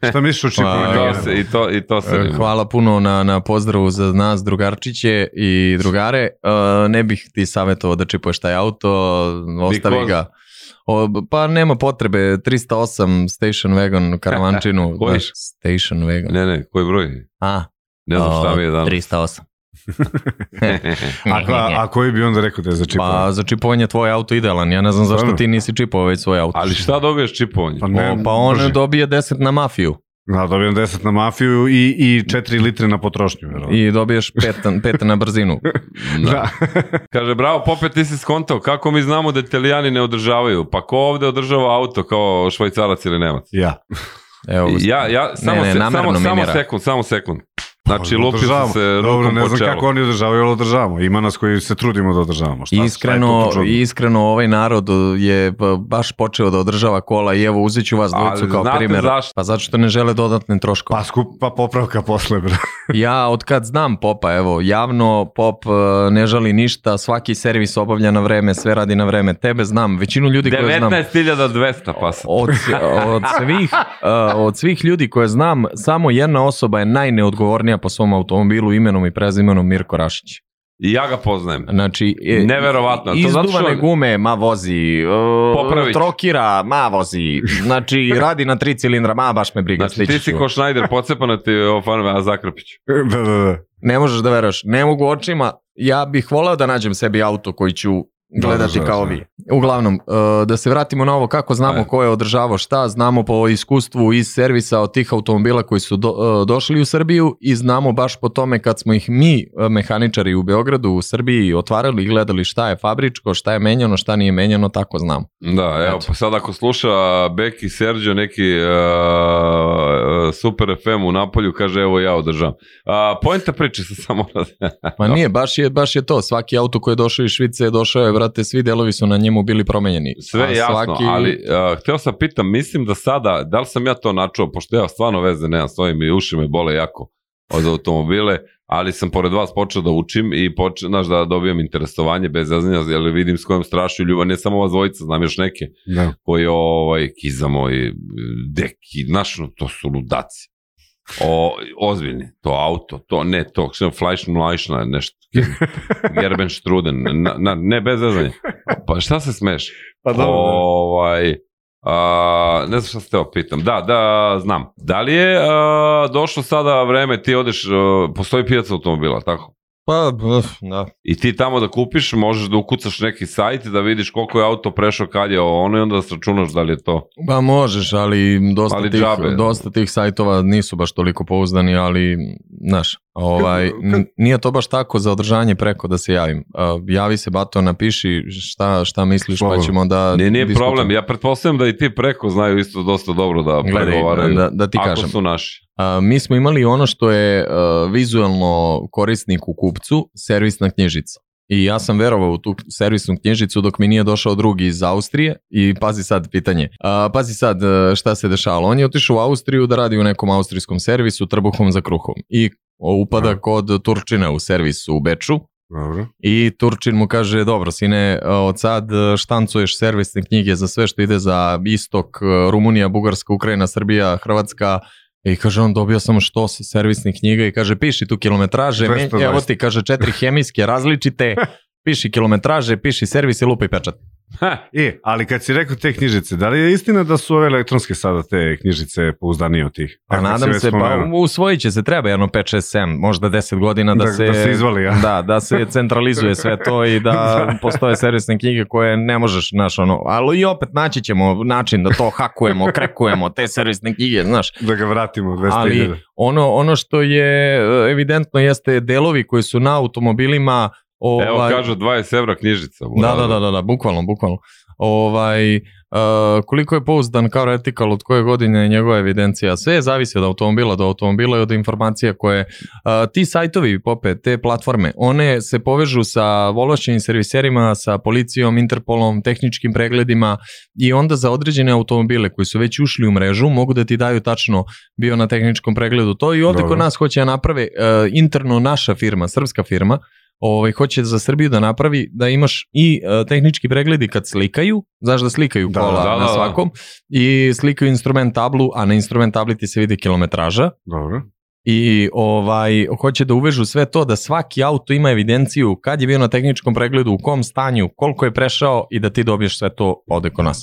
H: Šta misliš o
G: Pa,
F: To
H: čipu?
F: se, I to, i to se
G: E, Hvala puno na, na pozdravu za nas drugarčiće i drugare. E, Ne bih ti savjetovao da čipuješ taj auto, ostavi
F: Because?
G: ga. O, b- pa nema potrebe, 308 Station Wagon karavančinu.
F: Koji?
G: znaš, Station Wagon.
F: Ne, ne, koji broj?
G: A,
F: Ne znam šta
G: o,
F: mi je danas.
G: 308.
H: A, ko- a, a koji bi onda rekao da je za čipovanje?
G: Pa za čipovanje tvoj auto idealan, ja ne znam zašto
H: Stvarno?
G: ti nisi čipovao već svoj auto.
F: Ali šta dobiješ čipovanje?
H: Pa
G: Ne, o, pa on
H: brže.
G: dobije 10 na mafiju
H: Da, dobijem 10 na mafiju i, i 4 litre na potrošnju. I,
G: i dobiješ 5, 5 na brzinu.
H: da.
F: Kaže, bravo, popet ti si skontao, kako mi znamo da italijani ne održavaju? Pa ko ovde održava auto kao švajcarac ili nemac?
H: ja.
G: Evo,
F: Ja, ja, samo,
G: ne,
F: se,
G: namerno
F: samo, samo
G: mimira.
F: sekund, samo sekund. Znači, lupi sam
H: Održavamo.
F: se
H: Dobro,
F: rukom
H: ne
F: po
H: znam kako
F: čelu.
H: oni održavaju, ali održavamo. Ima nas koji se trudimo da održavamo. Šta, šta je
G: Iskreno,
H: to čudno?
G: iskreno ovaj narod je ba- baš počeo da održava kola i evo uzet ću vas
F: Ali
G: dvojicu kao
F: znate
G: primjer.
F: zašto?
G: Pa zato što ne žele dodatne troškove.
H: Pa skupa popravka posle, bro.
G: Ja od kad znam Popa, evo, javno Pop e, ne žali ništa, svaki servis obavlja na vreme, sve radi na vreme. Tebe znam, većinu ljudi koje znam.
F: 19.200 pasa.
G: Od, od, svih, e, od svih ljudi koje znam, samo jedna osoba je najneodgovornija po svom automobilu imenom i prezimenom Mirko Rašić.
F: I ja ga poznajem.
G: Znači, e,
F: Neverovatno. To zato
G: Izduvane
F: što...
G: gume, ma vozi. e,
F: Popravit ću.
G: Trokira, ma vozi. Znači, radi na tri cilindra, ma baš me briga.
F: Znači, ti
G: stići
F: si
G: ću.
F: ko Schneider, pocepano ti je ovo fanove, a Zakrpić.
H: da, da, da.
G: Ne možeš da veraš. Ne mogu očima. Ja bih voleo da nađem sebi auto koji ću gledati
H: da,
G: kao
H: da.
G: vi. Uglavnom, e, da se vratimo na ovo kako znamo
F: Ajde.
G: ko je održavao šta, znamo po iskustvu iz servisa od tih automobila koji su do, e, došli u Srbiju i znamo baš po tome kad smo ih mi e, mehaničari u Beogradu, u Srbiji otvarali i gledali šta je fabričko, šta je menjano, šta nije menjano, tako znamo.
F: Da, evo,
G: Eto.
F: pa sad ako sluša Beki Sergio neki uh, super FM u Napolju, kaže evo ja održavam. Uh, Pojenta priče se samo E,
G: Pa nije, baš je, baš je to. Svaki auto koji je došao iz Švice je došao je, brate, svi delovi su na njemu bili promenjeni.
F: sve
G: A
F: je jasno, ali uh, hteo sam pitam, mislim da sada, da li sam ja to načuo, pošto ja stvarno veze nemam s ovim i uši me bole jako od automobile, ali sam pored vas počeo da učim i počeo, znaš, da dobijam interesovanje bez jaznja, jer vidim s kojom strašuju ljubav, ne samo ova dvojica, znam još neke,
H: da.
F: koji je ovaj Kizamo i Deki, znaš, no, to su ludaci. O, ozbiljni, to auto, to ne to, što je Fleisch Mleischna, nešto, Gerbenstruden, na, na, ne bez zezanja. Pa šta se smeš?
H: Pa dobro, da.
F: Ovaj, a, ne znam šta se teo pitam. Da, da, znam. Da li je a, došlo sada vreme, ti odeš, a, postoji pijaca automobila, tako?
G: Pa, bf, da.
F: I ti tamo da kupiš, možeš da ukucaš neki sajt da vidiš koliko je auto prešao kad je ono i onda da sračunaš da li je to.
G: Pa možeš, ali dosta,
F: Ali
G: tih,
F: džabe.
G: dosta tih sajtova nisu baš toliko pouzdani, ali, znaš, ovaj, n- nije to baš tako za održanje preko da se javim. A, javi se, Bato, napiši šta, šta misliš, pa
H: Slobodno.
G: ćemo da...
F: Ne, nije
G: diskutujemo.
F: problem. Ja pretpostavljam da i ti preko znaju isto dosta dobro da
G: Gledaj,
F: pregovaraju.
G: da, da ti
F: ako
G: kažem.
F: su naši.
G: A, mi smo imali ono što je a, vizualno korisniku kupcu, servisna knjižica. I ja sam verovao u tu servisnu knjižicu dok mi nije došao drugi iz Austrije i pazi sad pitanje. A, pazi sad e, šta se dešavalo. On je otišao u Austriju da radi u nekom austrijskom servisu trbuhom za kruhom i upada kod Turčina u servisu u Beču
H: Dobro.
G: i Turčin mu kaže, dobro sine, od sad e, štancuješ servisne knjige za sve što ide za istok, e, Rumunija, Bugarska, Ukrajina, Srbija, Hrvatska, I kaže on, dobio sam što se servisnih knjiga i kaže, piši tu kilometraže, men-
H: 220.
G: evo ti, kaže, četiri hemijske različite, piši kilometraže, piši servis i lupaj pečat.
F: Ha,
H: E, ali kad si rekao te knjižice, da li je istina da su ove elektronske sada te knjižice pouzdanije od tih?
G: Pa
H: Kako si
G: nadam
H: već
G: se, pa
H: spomenuo.
G: usvojit će se, treba jedno 5, 6, 7, možda 10 godina da,
H: Da-
G: se...
H: da se izvali, a?
G: Da, da se centralizuje sve to i da postoje servisne knjige koje ne možeš, znaš, ono, ali i opet naći ćemo način da to hakujemo, krekujemo, te servisne knjige, znaš.
H: Da ga vratimo 200.000.
G: Ali ono, ono što je e, evidentno jeste delovi koji su na automobilima ovaj,
F: Evo kažu 20 evra knjižica.
G: Da, da, da, da, da, bukvalno, bukvalno. Ovaj, e, koliko je pouzdan kao retikal, od koje godine je njegova evidencija, sve zavisi od automobila do automobila i od informacija koje e, ti sajtovi, pope, te platforme, one se povežu sa vološćenim serviserima, sa policijom, Interpolom, tehničkim pregledima i onda za određene automobile koji su već ušli u mrežu mogu da ti daju tačno bio na tehničkom pregledu to i ovde
H: Dobro.
G: kod nas hoće da naprave e, interno naša firma, srpska firma, ovaj, hoće za Srbiju da napravi da imaš i e, tehnički pregledi kad slikaju, znaš da slikaju
H: Da,
G: kola
F: da, da,
G: na
F: da.
G: svakom i slikaju instrument tablu, a na instrument tabli ti se vidi kilometraža
H: Dobro.
G: i ovaj hoće da uvežu sve to da svaki auto ima evidenciju kad je bio na tehničkom pregledu, u kom stanju, koliko je prešao i da ti dobiješ sve to ovde kod nas.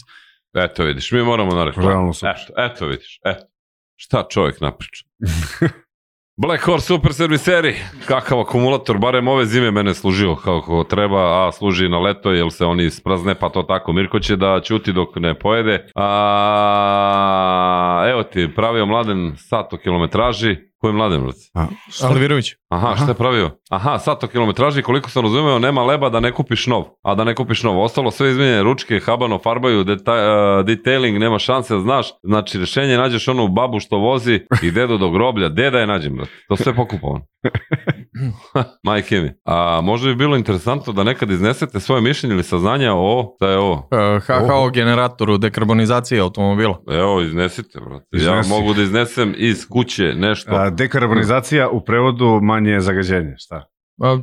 F: Eto vidiš, mi moramo na reklamu.
H: Realno super.
F: Eto, eto vidiš, eto. Šta čovjek napriča? Black Horse Super Serviseri, kakav akumulator, barem ove zime mene služio kako treba, a služi i na leto jer se oni sprazne, pa to tako. Mirko će da ćuti dok ne pojede. A, evo ti, pravio mladen sat o kilometraži. Koji mladen, brate?
G: Alvirović.
F: Aha, šta je pravio? Aha, sat o kilometraži, koliko sam razumeo, nema leba da ne kupiš nov. A da ne kupiš nov. Ostalo sve izmenjene ručke, habano, farbaju, deta, e, detailing, nema šanse, znaš. Znači, rešenje nađeš onu babu što vozi i dedu do groblja. Deda je nađem, brate. To sve pokupovano. Majke mi. A možda bi bilo interesantno da nekad iznesete svoje mišljenje ili saznanja o... Da je ovo?
G: Uh, HHO generatoru dekarbonizacije automobila.
F: Evo, iznesite, brate. Ja
H: Iznesi.
F: mogu da iznesem iz kuće nešto.
H: A, dekarbonizacija u prevodu manje zagađenje, šta?
G: A,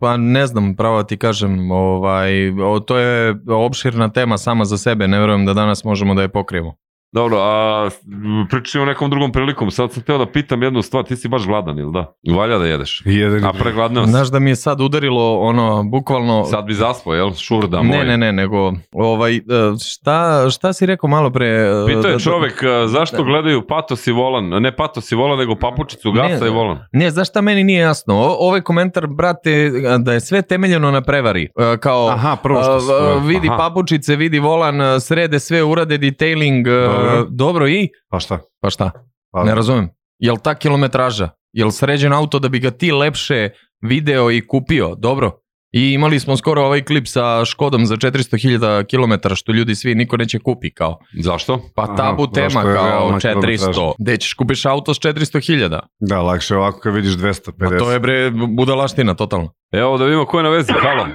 G: Pa ne znam, pravo ti kažem, ovaj, o, to je opširna tema sama za sebe, ne verujem da danas možemo da je pokrijemo.
F: Dobro, a m, pričaj o nekom drugom prilikom. Sad sam teo da pitam jednu stvar, ti si baš gladan, ili da? Valja da jedeš.
H: I Jedan,
F: A pregladneo si.
G: Znaš da mi je sad udarilo ono, bukvalno...
F: Sad bi zaspao, jel? Šurda moj.
G: ne, ne, ne, nego, ovaj, e, šta, šta si rekao malo pre? e,
F: Pitao
G: da-
F: je čovek a, zašto gledaju patos i volan, ne patos i volan, nego papučicu, gasa
G: Ne.
F: i volan.
G: Ne, znaš šta meni nije jasno? O, ovaj komentar, brate, da je sve temeljeno na prevari. E, Kao,
H: Aha, prvo što su-
G: e, v- vidi
F: aha.
G: papučice, vidi volan, e, srede sve, urade detailing, e,
H: Dobro.
G: dobro i?
H: Pa šta?
G: Pa šta?
H: Pa,
G: Ne razumem. Jel ta kilometraža? Jel sređen auto da bi ga ti lepše video i kupio? Dobro. I imali smo skoro ovaj klip sa Škodom za 400.000 km što ljudi svi niko neće kupi kao.
F: Zašto?
G: Pa
H: Aha,
G: tabu tema
H: zašto je
G: kao
H: realna
G: 400.
H: kilometraža?
G: Gde ćeš kupiš auto s 400.000?
H: da, lakše je ovako kad vidiš 250.
G: Pa to je bre budalaština totalno.
F: Evo da vidimo ko je na vezi. Halo.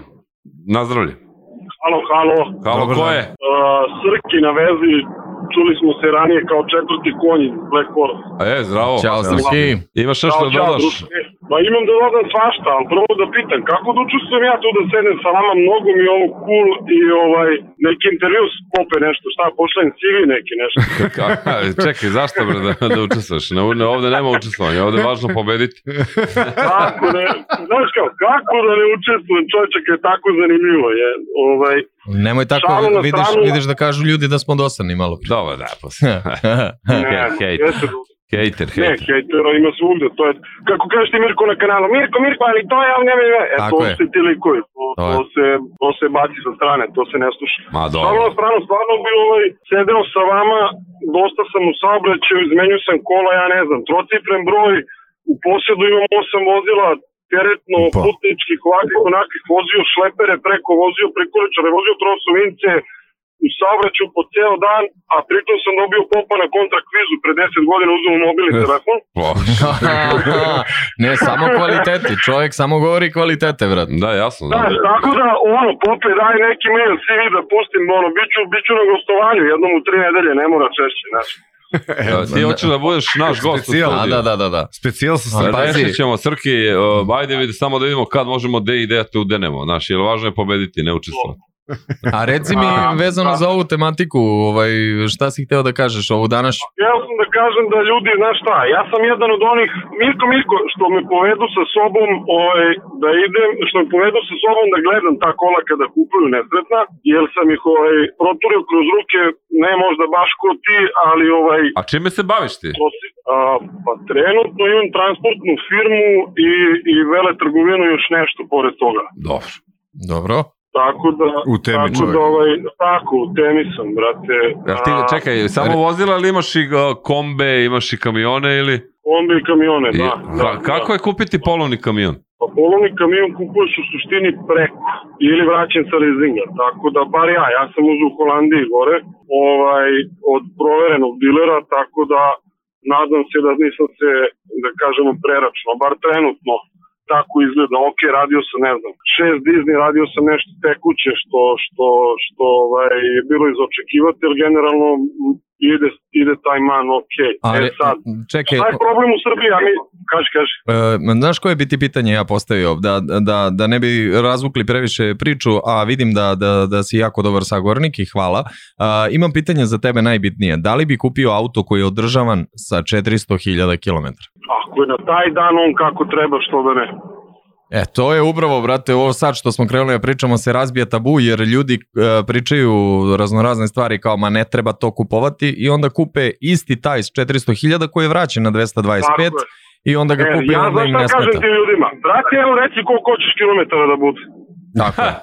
F: Nazdravlje.
E: Halo, halo.
F: Halo,
H: Dobar
F: ko
H: dan.
F: je?
E: Uh, Srki na vezi, čuli smo se ranije kao četvrti konj iz Black Horse.
F: E, zdravo.
H: Pa,
G: Ćao Srki.
F: Imaš nešto
E: Kao
F: da
E: čao,
F: dodaš?
E: druže. Ma imam da dodam svašta, ali prvo da pitam, kako da učestvujem ja tu da sedem sa vama, mnogo mi je ovo cool i ovaj, neki intervju s pope nešto, šta, pošaljem CV neki nešto.
F: Ka- Čekaj, zašto bre da, da učestvuješ? Ne, ne, ovde nema učestvovanja, ovde je važno pobediti.
E: Kako ne, znaš kao, kako da ne učestvujem čovječe kad je tako zanimljivo je. Ovaj,
G: Nemoj tako,
E: Šalu na
G: vidiš,
E: stranu.
G: vidiš da kažu ljudi da smo dosadni malo prije.
F: Dobro, da, posle.
E: ne,
F: hej.
E: jeste,
F: Hejter,
E: ne,
F: hejter.
E: hejtera ima svugde, to je, kako kažeš ti Mirko na kanalu, Mirko, Mirko, ali to je, ali ne, ne, ne, e,
G: Tako
E: to
G: je.
E: se ti likuje, to,
G: To je.
E: to, se, to se baci sa strane, to se ne sluša.
F: Ma
E: Stvarno,
F: dobro.
E: stvarno, stvarno bi ovaj, sedeo sa vama, dosta sam u saobraćaju, izmenju sam kola, ja ne znam, trocifren broj, u posjedu imam osam vozila, teretno,
H: Pa.
E: putničkih, ovakvih, onakvih, vozio šlepere preko, vozio prikoličare, vozio trosovince, u saobraćaju po ceo dan, a pritom sam dobio popa na kontra kvizu, pre 10 godina uzmem mobilni telefon.
G: ne, samo kvaliteti. Čovjek samo govori kvalitete, vrat.
F: Da, jasno,
E: Da,
F: znam.
E: tako da, ono, pope, daj neki mail, CV da pustim, ono, bit ću, bit ću na gostovanju jednom u tri nedelje, ne mora češće, znači.
F: Da, ti hoćeš da budeš naš gost u
H: Specijal.
F: studiju.
G: Da, da, da, da. da.
H: Specijal pa- sa
G: A,
H: strane.
G: pazi.
F: Rešit ćemo, Srki, uh, ajde vidi, samo da vidimo kad možemo de ideja te udenemo, znaš, jer važno je pobediti, ne učestvovati.
G: A reci mi,
E: A,
G: vezano
E: da.
G: za ovu tematiku, ovaj, šta si hteo da kažeš ovu današ?
E: Ja sam da kažem da ljudi, znaš šta, ja sam jedan od onih, Mirko Mirko, što me povedu sa sobom, ovaj, da idem, što me povedu sa sobom da gledam ta kola kada kupuju nesretna, jer sam ih ovaj, proturio kroz ruke, ne možda baš ko ti, ali ovaj,
F: A čime se baviš ti?
E: to si- a, pa trenutno imam transportnu firmu i, i vele trgovinu još nešto pored toga.
F: Dobro.
G: Dobro.
E: Tako da,
H: U temi
G: pa-
E: tako
H: čovjek.
E: da, ovaj, tako, u temi sam, brate.
F: Jel ti,
E: A,
F: čekaj, samo vozila ili imaš i uh, kombe, imaš i kamione ili?
E: Kombi i kamione,
F: I,
E: E, da. da,
F: ka- kako
E: da.
F: je kupiti polovni kamion?
E: Pa polovni kamion kupuješ u suštini preko ili vraćen sa leasinga, tako da bar ja, ja sam uzeo u Holandiji gore ovaj, od proverenog dilera, tako da nadam se da nisam se, da kažemo, preračno, bar trenutno tako izgleda, ok, radio sam, ne znam, šest Disney, radio sam nešto tekuće što, što, što ovaj, je bilo izočekivati, jer generalno m, ide, ide taj man, ok.
G: A,
E: e
G: re,
E: sad,
G: čekaj,
E: šta je problem u Srbiji, a mi, kaži, kaži.
G: E, znaš koje bi ti pitanje ja postavio? Da, da, da ne bi razvukli previše priču, a vidim da, da, da si jako dobar sagovornik i hvala. A, imam pitanje za tebe najbitnije. Da li bi kupio auto koji je održavan sa 400.000 km?
E: Ako je na taj dan on kako treba, što da ne.
G: E, to je upravo, brate, ovo sad što smo krenuli da pričamo se razbija tabu, jer ljudi e, pričaju raznorazne stvari kao, ma ne treba to kupovati, i onda kupe isti taj s 400.000 koji je vraćen na 225,
E: Tako je.
G: i onda ga
E: E,
G: kupi
E: ja
G: onda
E: znaš
G: im
E: šta
G: ne
E: kažem
G: smeta.
E: ti ljudima, brate, evo reci koliko hoćeš kilometara da bude.
G: Tako je.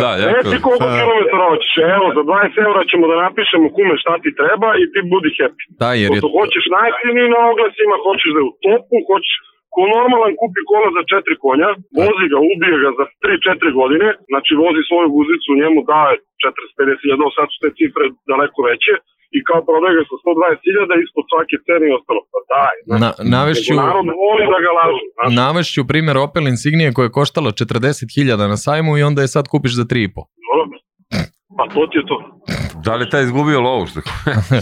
F: Da, jako.
E: Reci koliko
G: pa-
E: kilometara hoćeš, evo, za 20 eura ćemo da napišemo kume šta ti treba i ti budi happy.
G: Da, jer je,
E: Pošto hoćeš najjeftiniji na oglasima, hoćeš da je u topu, hoćeš ko normalan kupi kola za četiri konja, vozi ga, ubije ga za 3-4 godine, znači vozi svoju guzicu, njemu daje 40-50 hiljada, sad su te cifre daleko veće, i kao prodaje ga sa 120 hiljada, ispod svake cene i ostalo. Pa daj, znači,
G: na, navešću,
E: nego narod voli da ga lažu. Znači,
G: navešću primjer Opel Insignije koja je koštala 40.000 na sajmu i onda je sad kupiš za 3,5.
E: dobro. ono, Pa to ti je to.
F: Da li je taj izgubio lovu? Što...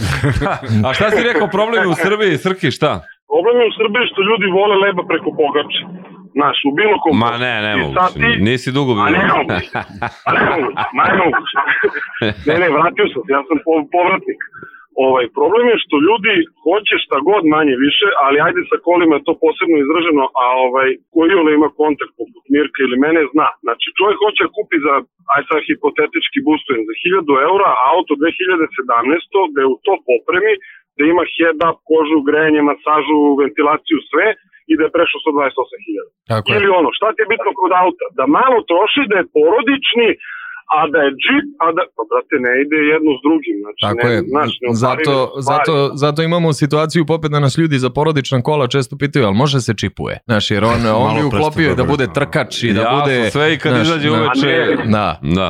F: A šta si rekao, problem je u Srbiji, Srki, šta?
E: Problem je u Srbiji što ljudi vole leba preko pogače. Znaš, u bilo kom...
F: Ma ne, ne
E: I
F: mogu.
E: sad ti-
F: Nisi dugo bio.
E: Ma ne moguće, ma ne moguće, ma ne moguće. ne, ne, vratio sam se, ja sam po- povratnik. Ovaj, problem je što ljudi hoće šta god manje više, ali ajde sa kolima je to posebno izraženo, a ovaj, koji ono ima kontakt poput Mirka ili mene zna. Znači čovjek hoće da kupi za, aj sad hipotetički boostujem, za 1000 eura auto 2017. da je u to popremi, da ima head up, kožu, grejanje, masažu, ventilaciju, sve i da je prešao 128.000.
G: Tako je.
E: Ili ono, šta ti je bitno kod auta? Da malo troši, da je porodični, a da je džip, a da... Pa, brate, ne ide jedno s drugim. Znači,
G: Tako
E: ne,
G: je.
E: Znaš, ne
G: Zato, zato, zato imamo situaciju popet da nas ljudi za porodična kola često pitaju, ali može se čipuje? Znaš, jer on, on
H: Malo
G: bi uklopio
H: prsta,
G: i da
H: dobro.
G: bude trkač i da
F: Ja
G: bude...
F: sam sve i kad
G: znaš,
F: izađe
G: na-
F: uveče...
G: Da,
F: Da.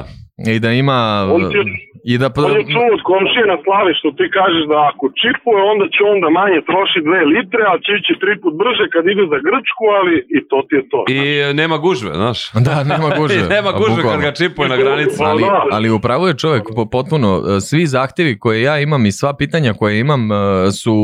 G: i da ima...
E: On ti-
G: I da,
E: On je čuo od komšije na slavi što ti kažeš da ako čipuje, onda će onda manje troši dve litre, a će ići tri put brže kad ide za Grčku, ali i to ti je to.
F: I nema gužve, znaš.
G: Da, nema guže.
F: I nema gužve kad
G: bukvalno.
F: ga čipuje na granici.
E: Pa
G: ali,
E: da.
G: ali upravo je čovjek po- potpuno, e, svi zahtjevi koje ja imam i sva pitanja koje imam e, su,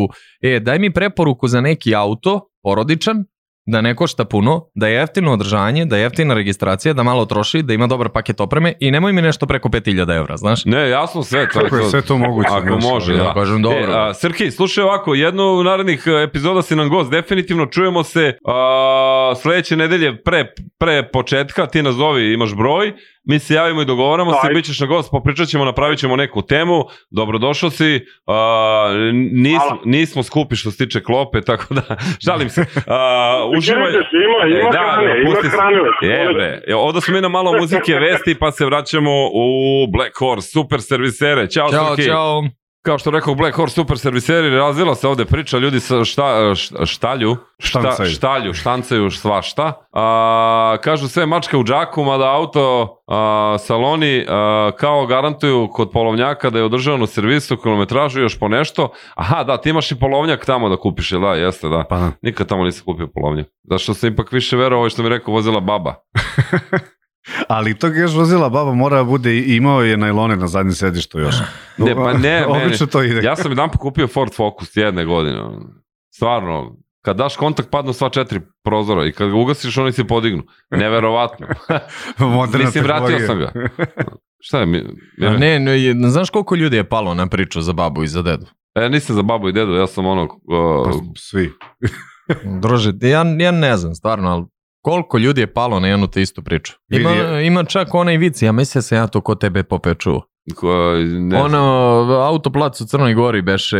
G: e, daj mi preporuku za neki auto, porodičan, da ne košta puno, da je jeftino održanje, da je jeftina registracija, da malo troši, da ima dobar paket opreme i nemoj mi nešto preko 5000 evra, znaš?
F: Ne, jasno sve. To,
H: Kako je sve to moguće,
F: Ako
H: znaš,
F: može,
H: ali
F: da.
G: ja kažem, dobro.
F: E, a, Srki, slušaj ovako, jedno u narednih e, epizoda si nam gost, definitivno čujemo se a, sledeće nedelje pre, pre početka, ti nazovi, imaš broj, mi se javimo i dogovaramo se,
E: Ajde.
F: bit ćeš na gost, popričat ćemo, napravit ćemo neku temu, dobrodošao si, a, nis,
E: Hvala.
F: nismo skupi što se tiče klope, tako da, šalim se, a, uživaj.
E: Uživaj. Ima, ima
F: E, da,
E: hrane,
F: da,
E: ima
F: pusti se.
E: hrane.
F: Je bre, E, onda smo mi na malo muzike vesti pa se vraćamo u Black Horse, super servisere. Ćao,
G: Ćao,
F: Srki.
G: čao.
F: Kao što rekao Black Horse super serviseri, razvila se ovde priča, ljudi sa šta, šta- štalju, šta,
H: Štancaju.
F: štalju, štancaju svašta. A, kažu sve mačke u džaku, mada auto a, saloni a, kao garantuju kod polovnjaka da je održan u servisu, kilometražu i još po nešto. Aha, da, ti imaš i polovnjak tamo da kupiš, jel da, jeste, da.
H: Pa da.
F: Nikad tamo nisam kupio polovnjak. Zašto sam ipak više verao ovo što mi je rekao vozila baba.
H: Ali to još vozila baba mora da bude, i- imao je najlone na zadnjem sedištu još.
F: Ne, pa ne, meni,
H: Obično to ide.
F: ja sam jedan pokupio Ford Focus jedne godine. ono. Stvarno, kad daš kontakt padnu sva četiri prozora i kad ga ugasiš oni se podignu. Neverovatno.
H: Moderna
F: Mislim, vratio
H: tehnologija.
F: sam ga. Šta je? Mi,
G: A Ne, ne, je- znaš koliko ljudi je palo na priču za babu i za dedu?
F: E, nisam za babu i dedu, ja sam ono...
H: Pa,
F: Uh,
H: svi.
G: Druže, ja, ja ne znam stvarno, ali koliko ljudi je palo na jednu te istu priču. Ima,
H: Vidi-
G: ima čak onaj vic, ja mislim da sam ja to kod tebe popečuo.
F: ko- ne,
G: ono, autoplac u Crnoj Gori beše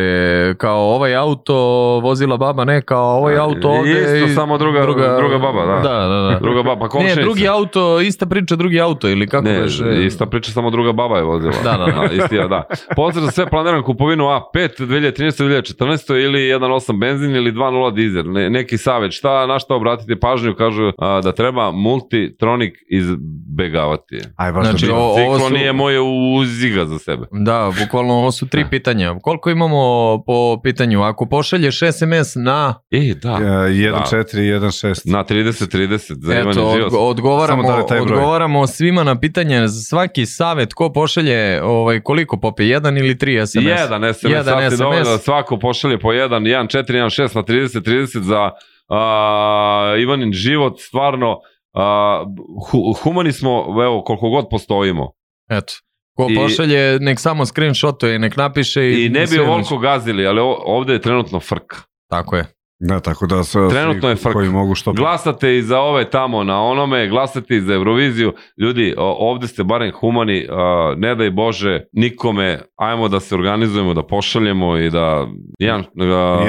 G: kao ovaj auto vozila baba, ne, kao ovaj
F: E,
G: auto ovde.
F: isto,
G: i
F: samo druga- druga baba, da.
G: Da, da, da.
F: Druga baba, komšenica.
G: ne, drugi auto, ista priča, drugi auto ili kako
F: Ne,
G: beše?
F: ista priča, samo druga baba je vozila.
G: Da, da, da.
F: isti, ja, da. Pozdrav za sve planiran kupovinu A5 2013-2014 ili 1.8 benzin ili 2.0 dizel. Ne, neki savjet, šta, na šta obratite pažnju, kažu a, da treba multitronik izbegavati.
H: Aj, baš
G: Znači,
H: znači, da
G: ovo-
H: ovo...
F: Ciklo
G: su-
F: nije moje uziga za sebe.
G: Da, bukvalno ovo su tri pitanja. Koliko imamo po pitanju? Ako pošalješ SMS na...
F: E, da.
H: 1.4 i 1.6.
F: Na 30-30 za Ivan
G: Eto,
F: Živas.
G: odgo- odgovaramo,
H: Samo da li taj broj?
G: odgovaramo svima na pitanje za svaki savjet ko pošalje ovaj, koliko popije, jedan ili tri SMS?
F: Jedan SMS,
G: Jedan
F: jedan SMS.
G: SMS.
F: dovoljno da svako pošalje po jedan, 1, 4, 1, 6 na 30, 30 za a, Ivanin život, stvarno a, hu, humani smo, evo, koliko god postojimo.
G: Eto. Ko
F: I-
G: pošalje, nek samo screenshotuje, nek napiše i...
F: I ne bi
G: sve
F: ovoliko gazili, ali o- ovde je trenutno frka.
G: Tako je.
H: Da, tako da sve,
F: Trenutno je frk.
H: koji mogu što
F: Glasate i za ove tamo na onome, glasate i za Euroviziju. Ljudi, o- ovde ste barem humani, a, ne daj Bože nikome, ajmo da se organizujemo, da pošaljemo i da... Jedan, a,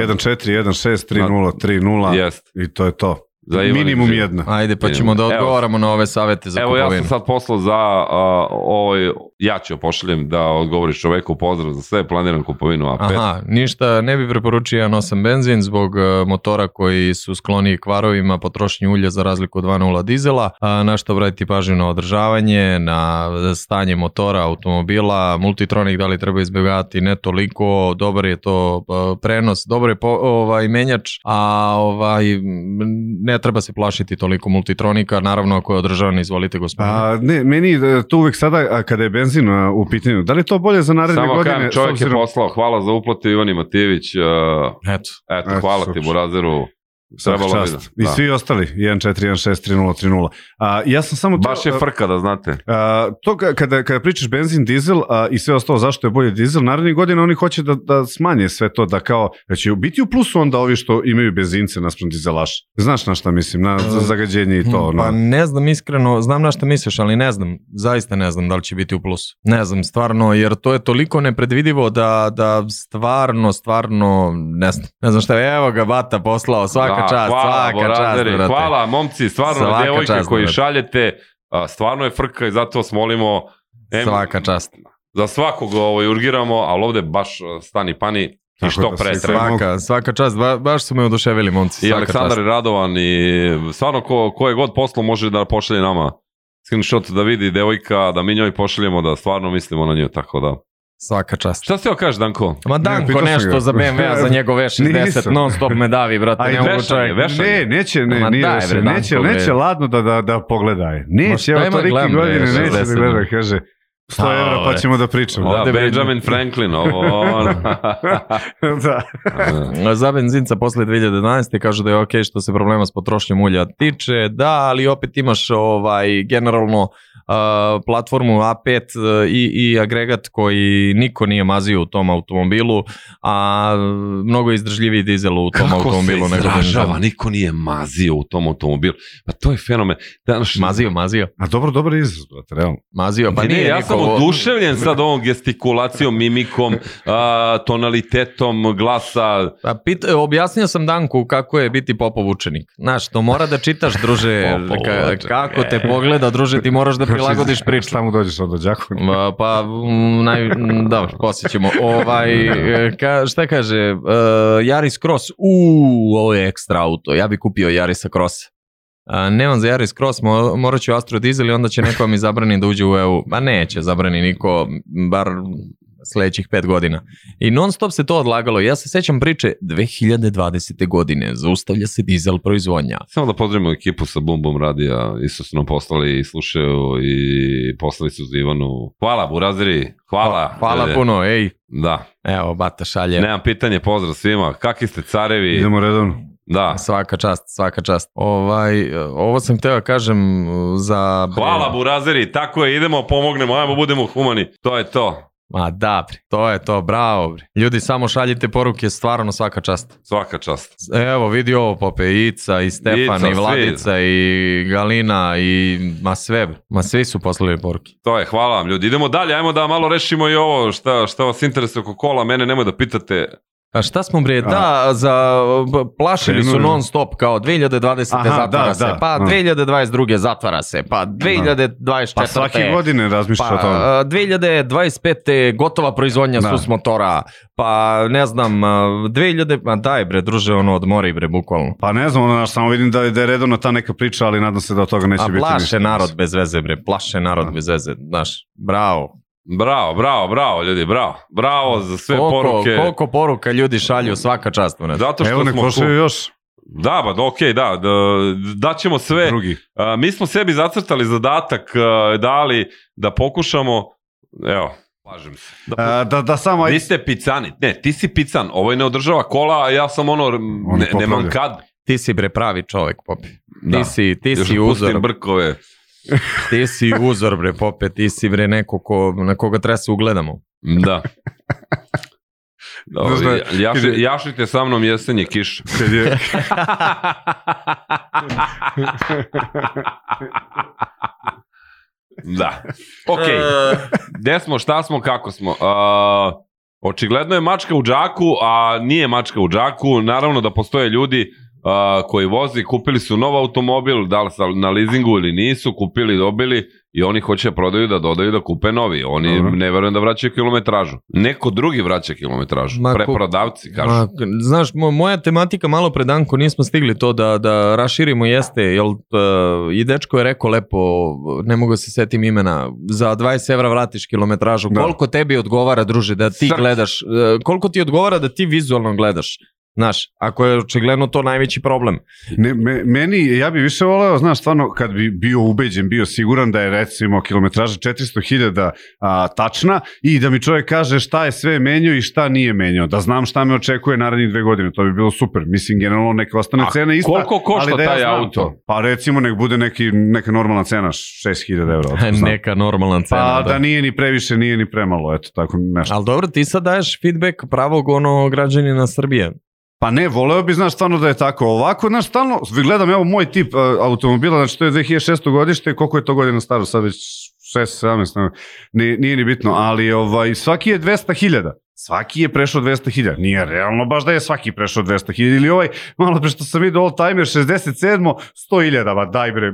H: 1-4-1-6-3-0-3-0
F: jest,
H: i to je to.
F: za Ivana
H: Minimum
F: Đinđića.
H: jedna.
G: Ajde, pa
F: Idemo.
G: ćemo da
F: Evo.
G: odgovaramo na ove savete za
F: Evo ja
G: kupovinu.
F: sam sad poslao za a, ovaj, ja ću joj pošaljem da odgovoriš čoveku pozdrav za sve, planiram kupovinu A5.
G: Aha, ništa, ne bi preporučio ja nosam benzin zbog e, motora koji su skloni kvarovima, potrošnji ulja za razliku od 2.0 dizela, a, na što obratiti pažnju na održavanje, na stanje motora, automobila, multitronik da li treba izbjegavati, ne toliko, dobar je to e, prenos, dobar je po, ovaj, menjač, a ovaj, m, ne treba se plašiti toliko multitronika, naravno ako je održavan, izvolite gospodine.
H: A, ne, meni e, to uvek sada, a, kada je benzin a, u pitanju, da li je to bolje za naredne
F: Samo
H: godine?
F: kažem,
H: s
F: čovjek je
H: obzirom-
F: poslao, hvala za uplatu Ivani Matijević, a,
G: Eto.
F: eto,
H: Eto,
F: hvala ti
H: super.
F: Burazeru,
H: Svaka
F: trebalo bi
H: čast.
F: da-
H: I
F: da.
H: svi ostali, 1-4-1-6-3-0-3-0. A, ja sam samo... to-
F: baš je frka da znate.
H: A, to ka- kada, kada pričaš benzin, dizel a, i sve ostalo, zašto je bolje dizel, narednih godina oni hoće da, da smanje sve to, da kao, da će biti u plusu onda ovi što imaju benzince naspram dizelaša. Znaš na šta mislim, na za zagađenje i to.
G: Pa
H: Ono.
G: ne znam iskreno, znam na šta misliš, ali ne znam, zaista ne znam da li će biti u plusu. Ne znam, stvarno, jer to je toliko nepredvidivo da, da stvarno, stvarno, ne znam, ne znam šta je, evo ga Bata poslao, svaka
F: Da,
G: čast, svaka
F: Borazeri,
G: čast, brate.
F: Hvala, momci, stvarno
G: Svaka
F: na devojke
G: čast,
F: koji
G: brate.
F: šaljete, a, stvarno je frka i zato vas molimo, em,
G: Svaka čast.
F: za svakog ovo, urgiramo, ali ovde baš a, stani pani i
H: Tako
F: što
H: da
F: pre
H: se
F: treba.
G: Svaka, svaka čast, ba, baš su me oduševili momci,
F: I
G: svaka
F: Aleksandar
G: čast.
F: Radovan i stvarno ko, ko je god poslo može da pošalje nama screenshot da vidi devojka, da mi njoj pošaljemo da stvarno mislimo na nju, tako da.
G: Svaka čast.
F: Šta ste joj kažeš, Danko?
G: Ma Danko
H: pitao sam
G: nešto
H: ga.
G: za BMW za njegov V60
H: Nisam.
G: non stop me davi, brate,
H: Aj,
G: pa, ne mogu
F: vešanje,
G: čovjek.
F: vešanje.
H: Ne, neće, ne,
G: Ma
H: nije
G: daj,
H: više,
G: bre,
H: neće,
G: Danko, bre.
H: neće ladno da, da, da pogledaj. Neće,
G: Ma šta
H: evo
G: ima
H: toliki
G: glam, bre,
H: godine neće da
G: 60.
H: gleda, kaže. 100
G: A,
H: evra pa
G: ovaj.
H: ćemo da pričamo.
F: Da,
G: Ovde vidim.
F: Benjamin Franklin, ovo ono. on.
H: da.
G: Za benzinca posle 2011. kažu da je ok što se problema s potrošnjom ulja tiče, da, ali opet imaš ovaj generalno uh, platformu A5 uh, i, i agregat koji niko nije mazio u tom automobilu, a uh, mnogo je izdržljiviji dizel u
F: Kako
G: tom
F: se
G: automobilu nego
F: izražava,
G: benzin.
F: niko nije mazio u tom automobilu. Pa to je fenomen. Danas,
G: Mazio, mazio,
H: A dobro, dobar izraz, brate, realno.
G: mazio, pa
F: Pa
G: nije
F: ne, ja
G: niko
F: sam
G: ovo-
F: oduševljen sad ovom gestikulacijom, mimikom, a, tonalitetom glasa.
G: Pa pit, objasnio sam Danku kako je biti popov učenik. Znaš, to mora da čitaš, druže,
F: Popov
G: ka,
F: učenik. e.
G: kako te pogleda, druže, ti moraš da prilagodiš priču.
H: Šta mu dođeš onda, Đaković?
G: Ma, Pa, m, naj, m, dobro, poslije ćemo. Ovaj, e, ka, šta kaže, e, Yaris Cross, uuu, ovo je ekstra auto, ja bi kupio Yarisa Crossa. A, nemam za Yaris Cross, mo, morat ću Astro Diesel i onda će neko mi zabrani da uđe u EU. Ma neće, zabrani niko, m, bar sledećih pet godina. I non stop se to odlagalo. Ja se sećam priče 2020. godine, zaustavlja se dizel proizvodnja.
F: Samo da pozdravimo ekipu sa Bum Bum Radija, isto su nam poslali i slušaju i poslali su za Ivanu. Hvala Buraziri, hvala.
G: Hvala
F: E,
G: puno, ej.
F: Da,
G: Evo, bata šalje.
F: nemam pitanje, pozdrav svima. Kaki ste carevi?
H: Idemo redovno.
F: Da.
G: Svaka čast, svaka čast. Ovaj, e, ovo sam hteo da kažem e, za...
F: Hvala Buraziri, tako je, idemo, pomognemo, ajmo, budemo humani. To je to,
G: Ma da, bre, to je to, bravo. Bre. Ljudi, samo šaljite poruke, stvarno svaka čast.
F: svaka čast.
G: Evo, vidi ovo, Pope, i Ica, i Stefan,
F: Ica,
G: i Vladica, i Galina, i ma sve, bre. ma svi su poslali poruke.
F: To je, hvala vam ljudi. Idemo dalje, ajmo da malo rešimo i ovo šta, šta vas interesuje oko kola, mene nemoj da pitate.
G: A šta smo bre, da, za, b- plašili su
H: Krenuli.
G: non stop, kao 2020.
H: Aha,
G: zatvara
H: da,
G: se,
H: da.
G: pa
H: Mm.
G: 2022. zatvara se, pa 2024.
H: Pa svake godine razmišljaš o tome.
G: Pa, a, 2025. gotova proizvodnja da.
H: Da.
G: sus motora, pa ne znam, a, 2000, ma daj bre, druže, ono, odmori bre, bukvalno.
H: Pa ne znam, ono, znaš, samo vidim da, je- da je redovna ta neka priča, ali nadam se da od toga neće
G: A
H: biti
G: plaše narod bez veze, bre, plaše narod bez veze, znaš, bravo.
F: Bravo, bravo, bravo ljudi, bravo. Bravo za sve
G: koliko,
F: poruke.
G: Koliko poruka ljudi šalju svaka čast, bre.
F: Zato što
H: Evo nek
F: smo tu.
H: pošaju još
F: Da, ba, da, okej, da, da, daćemo sve.
H: drugi.
F: A, mi smo sebi zacrtali zadatak, a, dali da pokušamo, evo, slažem se. Da,
H: A, da, da samo,
F: Vi
H: ajde,
F: ste picani, ne, ti si pican, ovo je ne održava kola, a ja sam ono, ne,
H: popravlja.
F: nemam kad.
G: Ti si bre pravi čovek, Popi.
F: Da.
G: Ti si, ti
F: Još
G: si
F: pustim
G: uzor,
F: brkove.
G: ti si uzor bre, Pope, ti si bre neko ko, na koga treba se ugledamo.
F: Da. Dobro,
H: Znaš da-
F: ja- jaši, jašite sa mnom jesenje kiš.
H: Kad je,
F: Da. Ok.
H: E.
F: Gde smo, šta smo, kako smo? Uh, očigledno je mačka u džaku, a nije mačka u džaku. Naravno da postoje ljudi uh, koji vozi, kupili su nov automobil, da li sa, na leasingu ili nisu, kupili, dobili i oni hoće da prodaju da dodaju da kupe novi. Oni
H: Dobro.
F: ne verujem da vraćaju kilometražu. Neko drugi vraća kilometražu.
G: Ma, ko-
F: Preprodavci, kažu.
G: Ma, k- znaš, mo- moja tematika malo pre Danko, nismo stigli to da, da raširimo jeste, jel, e, i dečko je rekao lepo, ne mogu se setim imena, za 20 evra vratiš kilometražu,
H: Da.
G: koliko tebi odgovara, druže, da ti
F: Srk.
G: gledaš, e, koliko ti odgovara da ti vizualno gledaš, znaš, ako je očigledno to najveći problem.
H: ne, me, meni, ja bi više voleo, znaš, stvarno, kad bi bio ubeđen, bio siguran da je recimo kilometraža 400.000 a, tačna i da mi čovjek kaže šta je sve menio i šta nije menio, da znam šta me očekuje narednih dve godine, to bi bilo super. Mislim, generalno neka ostane
F: A
H: cena ista.
F: koliko košta
H: ali da
F: taj
H: znam
F: auto?
H: To. Pa recimo nek bude neki, neka normalna cena, 6.000 evra. otko znam.
G: Neka normalna cena.
H: Pa da nije ni previše, nije ni premalo, eto tako nešto.
G: Ali dobro, ti sad daješ feedback pravog ono građanina Srbije.
H: Pa ne, voleo bi, znaš, stvarno da je tako. Ovako, znaš, stvarno, gledam, evo moj tip e, automobila, znači to je 2006. godište, koliko je to godina staro, sad već 6, 17, ne, nije, nije ni bitno, ali ovaj, svaki je 200.000. Svaki je prešao 200.000. Nije realno baš da je svaki prešao 200.000. Ili ovaj, malo pre što sam vidio, all timer 67. 100.000, ba daj bre.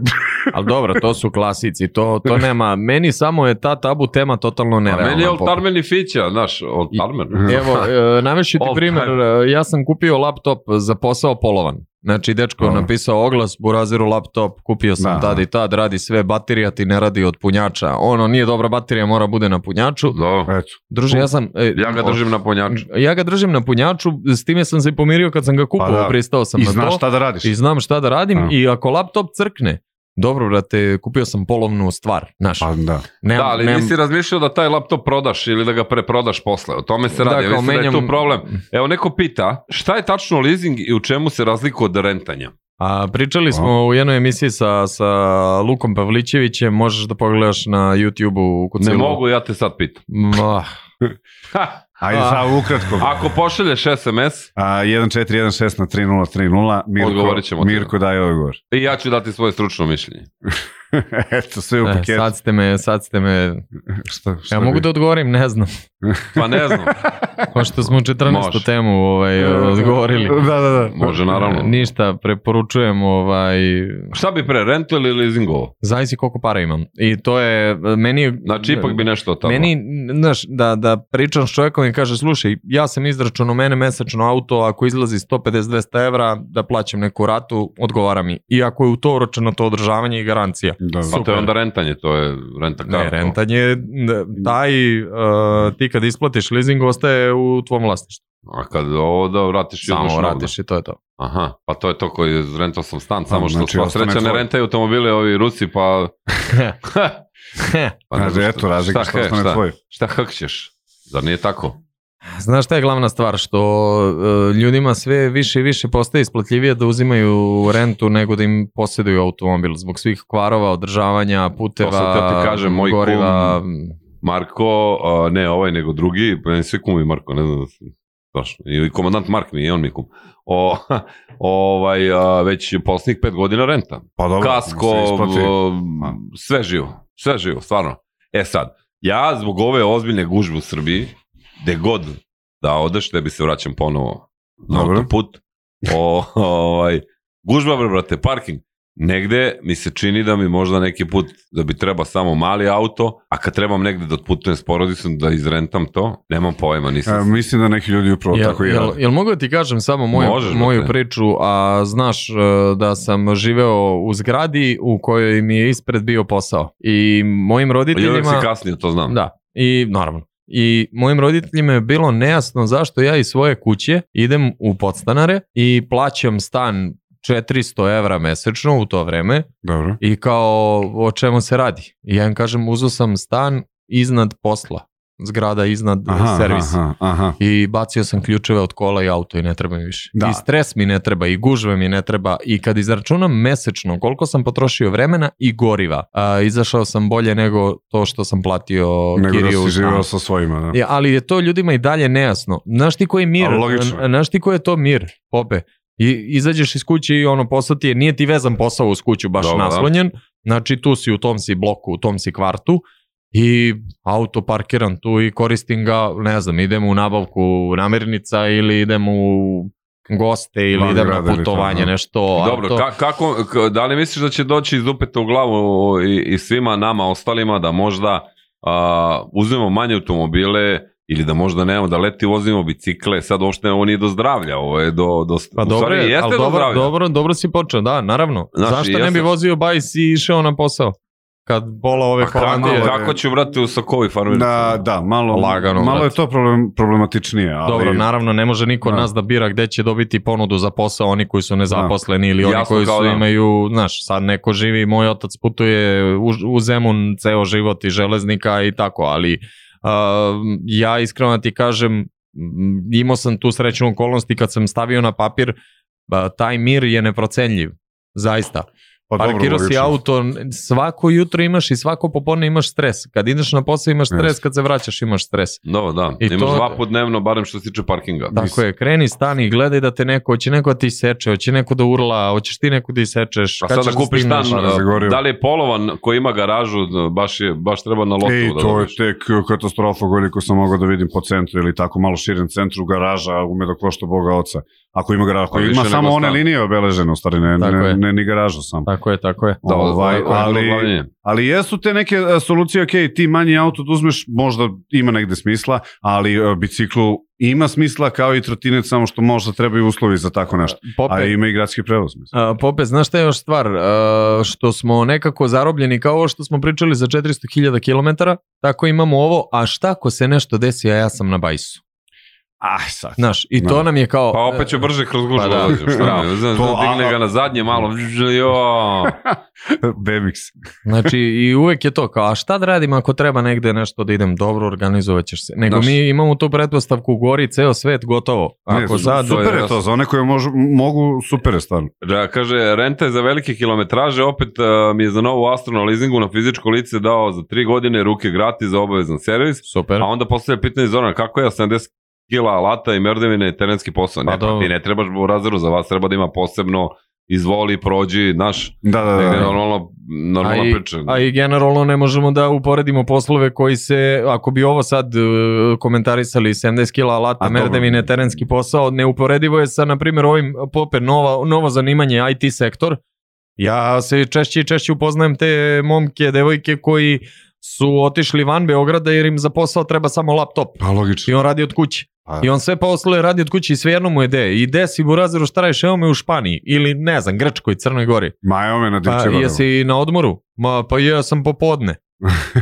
G: Ali dobro, to su klasici, to, to nema. Meni samo je ta tabu tema
H: Pa
G: totalno
F: A
G: nerealna.
F: meni je
G: poput-
F: Oltarmen i Fića, znaš, Oltarmen.
H: Mhm.
G: Evo, e, navešu ti
F: All
G: primjer, e, ja sam kupio laptop za posao polovan. Znači, dečko je
H: Dobro.
G: napisao oglas, buraziru laptop, kupio sam
H: Da.
G: tad i tad, radi sve, baterija ti ne radi od punjača. Ono, nije dobra baterija, mora bude na punjaču.
F: Do.
H: Eto,
G: Druže, ja sam... e,
F: Ja ga držim na ponjaču.
G: Ja ga držim na punjaču, s time sam se pomirio kad sam ga kupao,
H: Pa da.
G: pristao sam
H: i
G: na to.
H: znaš šta da radiš.
G: I znam šta da radim
H: Da.
G: i ako laptop crkne, dobro brate, kupio sam polovnu stvar, znaš.
H: Pa da.
F: Da,
G: nemam,
F: ali
G: nemam-
F: nisi razmišljao da taj laptop prodaš ili da ga preprodaš posle. O tome se
G: Da,
F: radi. Ja
G: kao
F: mislim da je
G: Dakle, menjam-
F: tu problem. Evo, neko pita, šta je tačno leasing i u čemu se razlikuje od rentanja?
G: A pričali smo u jednoj emisiji sa, sa Lukom Pavlićevićem, možeš da pogledaš na YouTube-u u
F: Ne mogu, ja te sad pitam. Ha,
H: Ajde,
G: A.
H: sad ukratko.
F: ako pošalješ SMS,
H: A, 1416 na 3030, Mirko,
F: Odgovorit ćemo ti.
H: Mirko daje odgovor.
F: i ja ću dati svoje stručno mišljenje.
H: Eto, sve u paketu.
G: e, sad ste me, sad ste me,
H: Šta, šta
G: ja
H: bi-
G: mogu da odgovorim, ne znam,
F: Pa ne znam,
G: pošto smo u 14.
F: Može. E,
G: temu ovaj, odgovorili. E,
H: Da, da, da.
F: može naravno.
G: Ništa, preporučujem ovaj,
F: Šta bi pre, rentu ili leasingovo?
G: zavisi koliko para imam. I to je, meni je...
F: Znači, ipak bi nešto od tamo.
G: Meni, n- znaš, da, da pričam s čovjekom i kaže, slušaj, ja sam izračunao mene mesečno auto, ako izlazi 150-200 evra, da plaćam neku ratu, odgovara mi. I ako je u to uročeno to održavanje i garancija.
H: Da,
F: Pa to je
G: super.
F: onda rentanje, to je renta karta.
G: Ne, rentanje, je, n- taj, uh, ti kad isplatiš leasing, ostaje u tvom vlasništvu.
F: A kad ovo da vratiš i odmah
G: Samo
F: novog.
G: radiš i to je to.
F: Aha, pa to je to koji rentao sam stan, samo što znači,
H: znači,
F: sva
H: ostane
F: sreća ne
H: tvoj.
F: rentaju automobile ovi Rusi, pa... pa ne
H: Kaže,
F: znam
H: eto, razlika što
F: he,
H: ostane tvoj.
F: Šta hkćeš? Zar nije tako?
G: Znaš šta je glavna stvar? Što e, ljudima sve više i više postaje isplatljivije da uzimaju rentu nego da im posjeduju automobil zbog svih kvarova, održavanja, puteva,
F: To sam teo ti kažem, moj
G: goriva.
F: Marko, a, ne ovaj, nego drugi, pa ne sve kumi Marko, ne znam da sam- baš, i komandant Mark mi je, on mi je kum. O, ovaj, a, već posljednjih pet godina renta.
H: Pa dobro,
F: Kasko,
H: se isplati.
F: v-
H: Ma.
F: sve živo, sve živo, stvarno. E sad, ja zbog ove ozbiljne gužbe u Srbiji, gde god da odeš, ne bi se vraćam ponovo na
H: Dobro.
F: autoput. O, ovaj, gužba, bre, brate, parking. Negde mi se čini da mi možda neki put da bi treba samo mali auto, a kad trebam negde da otputujem s porodicom da izrentam to, nemam pojma,
H: E,
F: nisam.
H: mislim da neki ljudi upravo
G: Jel,
H: tako i
G: jel,
H: rade.
G: jel mogu da ti kažem samo moju,
F: Možeš,
G: moju
F: brate.
G: priču, a znaš e, da sam živeo u zgradi u kojoj mi je ispred bio posao. I mojim
F: Pa I uvek si
G: roditeljima...
F: kasnije, to znam.
G: Da, i naravno. I mojim roditeljima je bilo nejasno zašto ja iz svoje kuće idem u podstanare i plaćam stan 400 evra mesečno u to vreme
H: Dobro.
G: i kao o čemu se radi. I ja im kažem uzeo sam stan iznad posla. zgrada iznad aha,
H: Aha,
G: servisa.
H: aha, aha.
G: I bacio sam ključeve od kola i auto i ne treba mi više.
H: Da.
G: I stres mi ne treba, i gužve mi ne treba. I kad izračunam mesečno koliko sam potrošio vremena i goriva, a, izašao sam bolje nego to što sam platio
H: Nego da
G: kiriju u
H: si živeo
G: stanu.
H: sa svojima, da.
G: Ja, ali je to ljudima i dalje nejasno. Znaš ti koji mir?
H: A, logično.
G: Znaš ti koji je to mir, Pope? I, izađeš iz kuće i ono posao ti je, nije ti vezan posao uz kuću baš
F: Dobro, da.
G: naslonjen, znači tu si u tom si bloku, u tom si kvartu i auto parkiram tu i koristim ga, ne znam, idem u nabavku namirnica ili idem u goste ili
H: Van
G: idem
H: grada
G: na
H: ili to,
G: putovanje,
H: da.
G: nešto.
F: Dobro,
G: auto.
F: ka, kako, k- da li misliš da će doći iz upeta u glavu i, i svima nama ostalima da možda a, uzmemo manje automobile ili da možda nemamo da leti vozimo bicikle, sad uopšte ovo nije do zdravlja, ovo je do, do
G: Pa
F: u
G: dobro,
F: stvari
G: je,
F: jeste Znači,
G: ali
F: do
G: dobro,
F: zdravlja.
G: dobro, dobro si počeo, da, naravno.
F: Znaš,
G: Zašto ne
F: jesam-
G: bi vozio bajs i išao na posao? Kad pola ove
F: Pa kako,
G: Holandije...
F: kako ću brate u sakovi farmirati?
H: Da, da, malo,
G: Lagano,
H: malo je
G: brate.
H: to problem, problematičnije, ali... pa
G: Dobro, naravno, ne može niko od
H: Da.
G: nas da bira gde će dobiti ponudu za posao, oni koji su nezaposleni ili oni
F: Jasno
G: koji
F: kao
G: su
F: dan.
G: imaju, znaš, sad neko živi, moj otac putuje u, u Zemun ceo život i železnika i tako, ali um, ja iskreno da ti kažem, m, imao sam tu srećnu okolnost i kad sam stavio na papir, ba, taj mir je neprocenljiv, zaista.
H: pa dobro,
G: Parkirao si
H: logično.
G: auto, n- svako jutro imaš i svako popodne imaš stres. Kad ideš na posao imaš stres,
H: Jeste.
G: kad se vraćaš imaš stres.
F: Dobro, da.
G: I
F: Imaš
G: to-
F: dva put dnevno, barem što se tiče parkinga.
G: Tako je, kreni, stani, gledaj da te neko, hoće neko da ti seče, hoće neko da urla, hoćeš ti neko da isečeš.
F: A
G: kad
F: sad
G: ćeš
F: da kupiš
G: stigneš?
F: stan,
H: Pa da se
F: a,
H: gorivo.
F: da li je polovan koji ima garažu, d- baš, je, baš treba na lotu
H: Ej,
F: da
H: to je
F: dobiješ.
H: tek e, katastrofa koliko sam mogao da vidim po centru ili tako malo širem centru garaža ume da košta boga oca. Ako ima garaža, ako
F: Pa više
H: ima
F: nego
H: samo one
F: stan.
H: linije obeležene, u stvari ne,
G: Tako
H: ne,
G: je.
H: ne, ni garažu samo.
G: Tako je, tako je.
F: Da,
H: ovaj,
F: ovo je ono
H: ali,
F: glavnije.
H: Ali jesu te neke e, solucije, ok, ti manji auto da uzmeš, možda ima negde smisla, ali e, biciklu ima smisla kao i trotinet, samo što možda trebaju uslovi za tako nešto. A
G: Pope,
H: ima i gradski prevoz, mislim.
G: a, Pope, znaš šta je još stvar? A, što smo nekako zarobljeni kao ovo što smo pričali za 400.000 km, tako imamo ovo, a šta ako se nešto desi, a ja sam na bajsu?
H: Ah, sad.
G: Znaš, i to
H: Da.
G: nam je kao...
F: Pa opet će brže kroz gužu
G: Pa
F: pa
G: da.
F: da. dođem.
H: Da.
F: Šta? ne znam,
H: To,
F: digne
H: a-
F: ga na zadnje malo. Jo.
H: Bemix.
G: Znači, i uvek je to kao, a šta da radim ako treba negde nešto da idem dobro, organizovat ćeš se. Nego
F: Znaš-
G: mi imamo tu pretpostavku, gori ceo svet, gotovo.
H: Ne,
G: Ako
H: su-
G: sad,
F: to je
H: super je to,
F: jasno.
H: za one koje možu, mogu, super je stvarno.
F: Da, kaže, renta je za velike kilometraže, opet e, mi je za novu Astro na leasingu na fizičko lice dao za tri godine ruke gratis za obavezan servis,
G: super.
F: a onda postavlja pitanje Zorana, kako ja 70 kila alata i merdevine i terenski posao?
G: Pa
F: Ne, pa
G: dobro.
F: ti ne trebaš u razredu za vas, treba da ima posebno izvoli, prođi, znaš,
H: Da, da, da.
F: negde
H: da.
F: normalna, normalna
G: A i-
F: priča.
G: A i generalno ne možemo da uporedimo poslove koji se, ako bi ovo sad e, komentarisali 70 kila
H: A
G: alata,
H: dobro.
G: merdevine, terenski posao, neuporedivo je sa, na primjer, ovim pope nova, novo zanimanje IT sektor. Ja se češće i češće upoznajem te momke, devojke koji su otišli van Beograda jer im za posao treba samo laptop.
H: Pa logično.
G: I on radi od kuće.
H: Pa-
G: I on sve poslove radi od kuće i svejedno mu je de. I desi mu razvoru šta radiš, evo me u Španiji ili ne znam, Grčkoj, Crnoj Gori.
H: Majo me na
G: Pa
H: divčeva.
G: jesi na odmoru? Ma, pa ja sam popodne.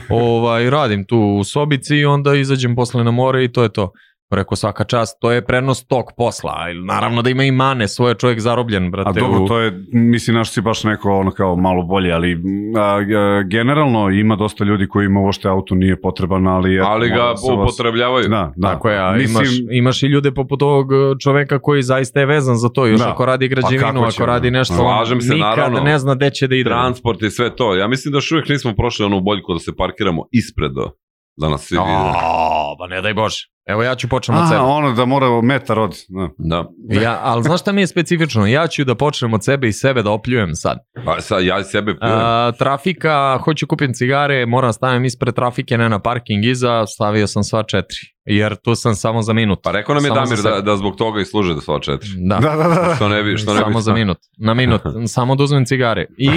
G: ovaj, radim tu u sobici i onda izađem posle na more i to je to. Rekao svaka čast, to je prenos tog posla. a Naravno da ima i mane, svoje čovjek zarobljen, brate.
H: A dobro,
G: u-
H: to je, mislim, naš si baš neko ono kao malo bolje, ali m, a, a, generalno ima dosta ljudi koji ima ovo što auto nije potreban, ali... eto,
F: ali
H: mora
F: ga
H: da se vas-
F: upotrebljavaju.
H: Da, da.
G: Tako je, a
H: mislim,
G: imaš, imaš i ljude poput ovog e, čoveka koji zaista je vezan za to, još
H: Da. Pa
G: ako radi građevinu,
H: kako će,
G: ako radi
H: ono?
G: nešto,
F: Slažem
G: on
F: se,
G: nikad
F: naravno.
G: ne zna gde će da ide.
F: transport i sve to. Ja mislim da još uvijek nismo prošli onu boljku da se parkiramo ispred da nas svi vide.
G: A, pa ne daj Bože. Evo ja ću počnem od
H: A,
G: sebe.
H: ono da mora metar od... Da.
F: Da.
G: Ja, ali znaš šta mi je specifično? Ja ću da počnem od sebe i sebe da opljujem sad.
F: Pa sad ja sebe pijem.
G: A, trafika, hoću kupim cigare, moram stavim ispred trafike, ne na parking iza, stavio sam sva četiri. Jer tu sam samo za minut.
F: Pa rekao nam je
G: samo za
F: Damir da,
G: sebe.
F: da zbog toga i služe da sva četiri.
G: Da.
H: Da, da, da, da.
F: Što ne bi, što ne
G: samo
F: bi
G: za minut. Na minut. Samo da uzmem cigare. I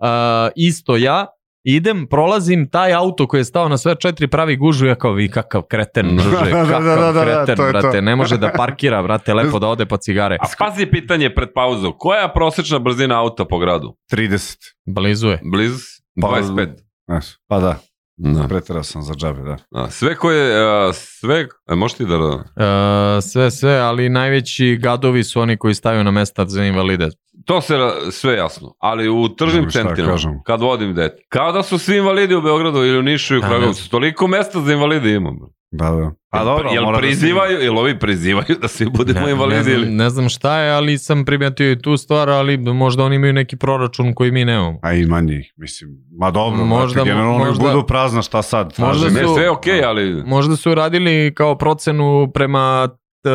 G: a, isto ja idem, prolazim taj auto koji je stao na sve četiri, pravi gužu, ja kao vi kakav kreten, druže,
H: Da, da, da,
G: kakav
H: da, da, da,
G: kreten,
H: to je to.
G: brate, ne može da parkira, brate, lepo da ode po cigare.
F: A pazi pitanje pred pauzu. Koja je prosječna brzina auta po gradu?
H: 30.
G: Blizu je.
F: Blizu si?
H: Pa-
F: 25.
H: Znaš, pa da,
F: Da.
H: preterao sam za džabe, da.
F: Da. Sve koje, a, sve, e, možeš ti da...
G: E, sve, sve, ali najveći gadovi su oni koji stavaju na mesta za invalide.
F: To se ra- sve jasno, ali u
H: Ne bi
F: tržnim
H: šta
F: centrima,
H: kažem.
F: kad vodim dete, kao da su svi invalidi u Beogradu ili u Nišu i u
G: Da, ne
F: Kragovicu, toliko mesta za invalide imam.
H: Da, da.
F: Pa dobro, jel
H: mora da se-
F: prizivaju, jel ovi prizivaju da svi budemo
G: ne,
F: invalidi ili?
G: znam, ne znam šta je, ali sam primetio i tu stvar, ali možda oni imaju neki proračun koji mi nemamo.
H: A ima njih, mislim. Ma dobro, možda,
G: Možda-
H: brate, generalno možda,
G: možda-
H: budu prazna, šta sad?
G: Možda
H: traže?
F: Ne,
G: su-
F: sve je okej, ali...
G: Možda su radili kao procenu prema t,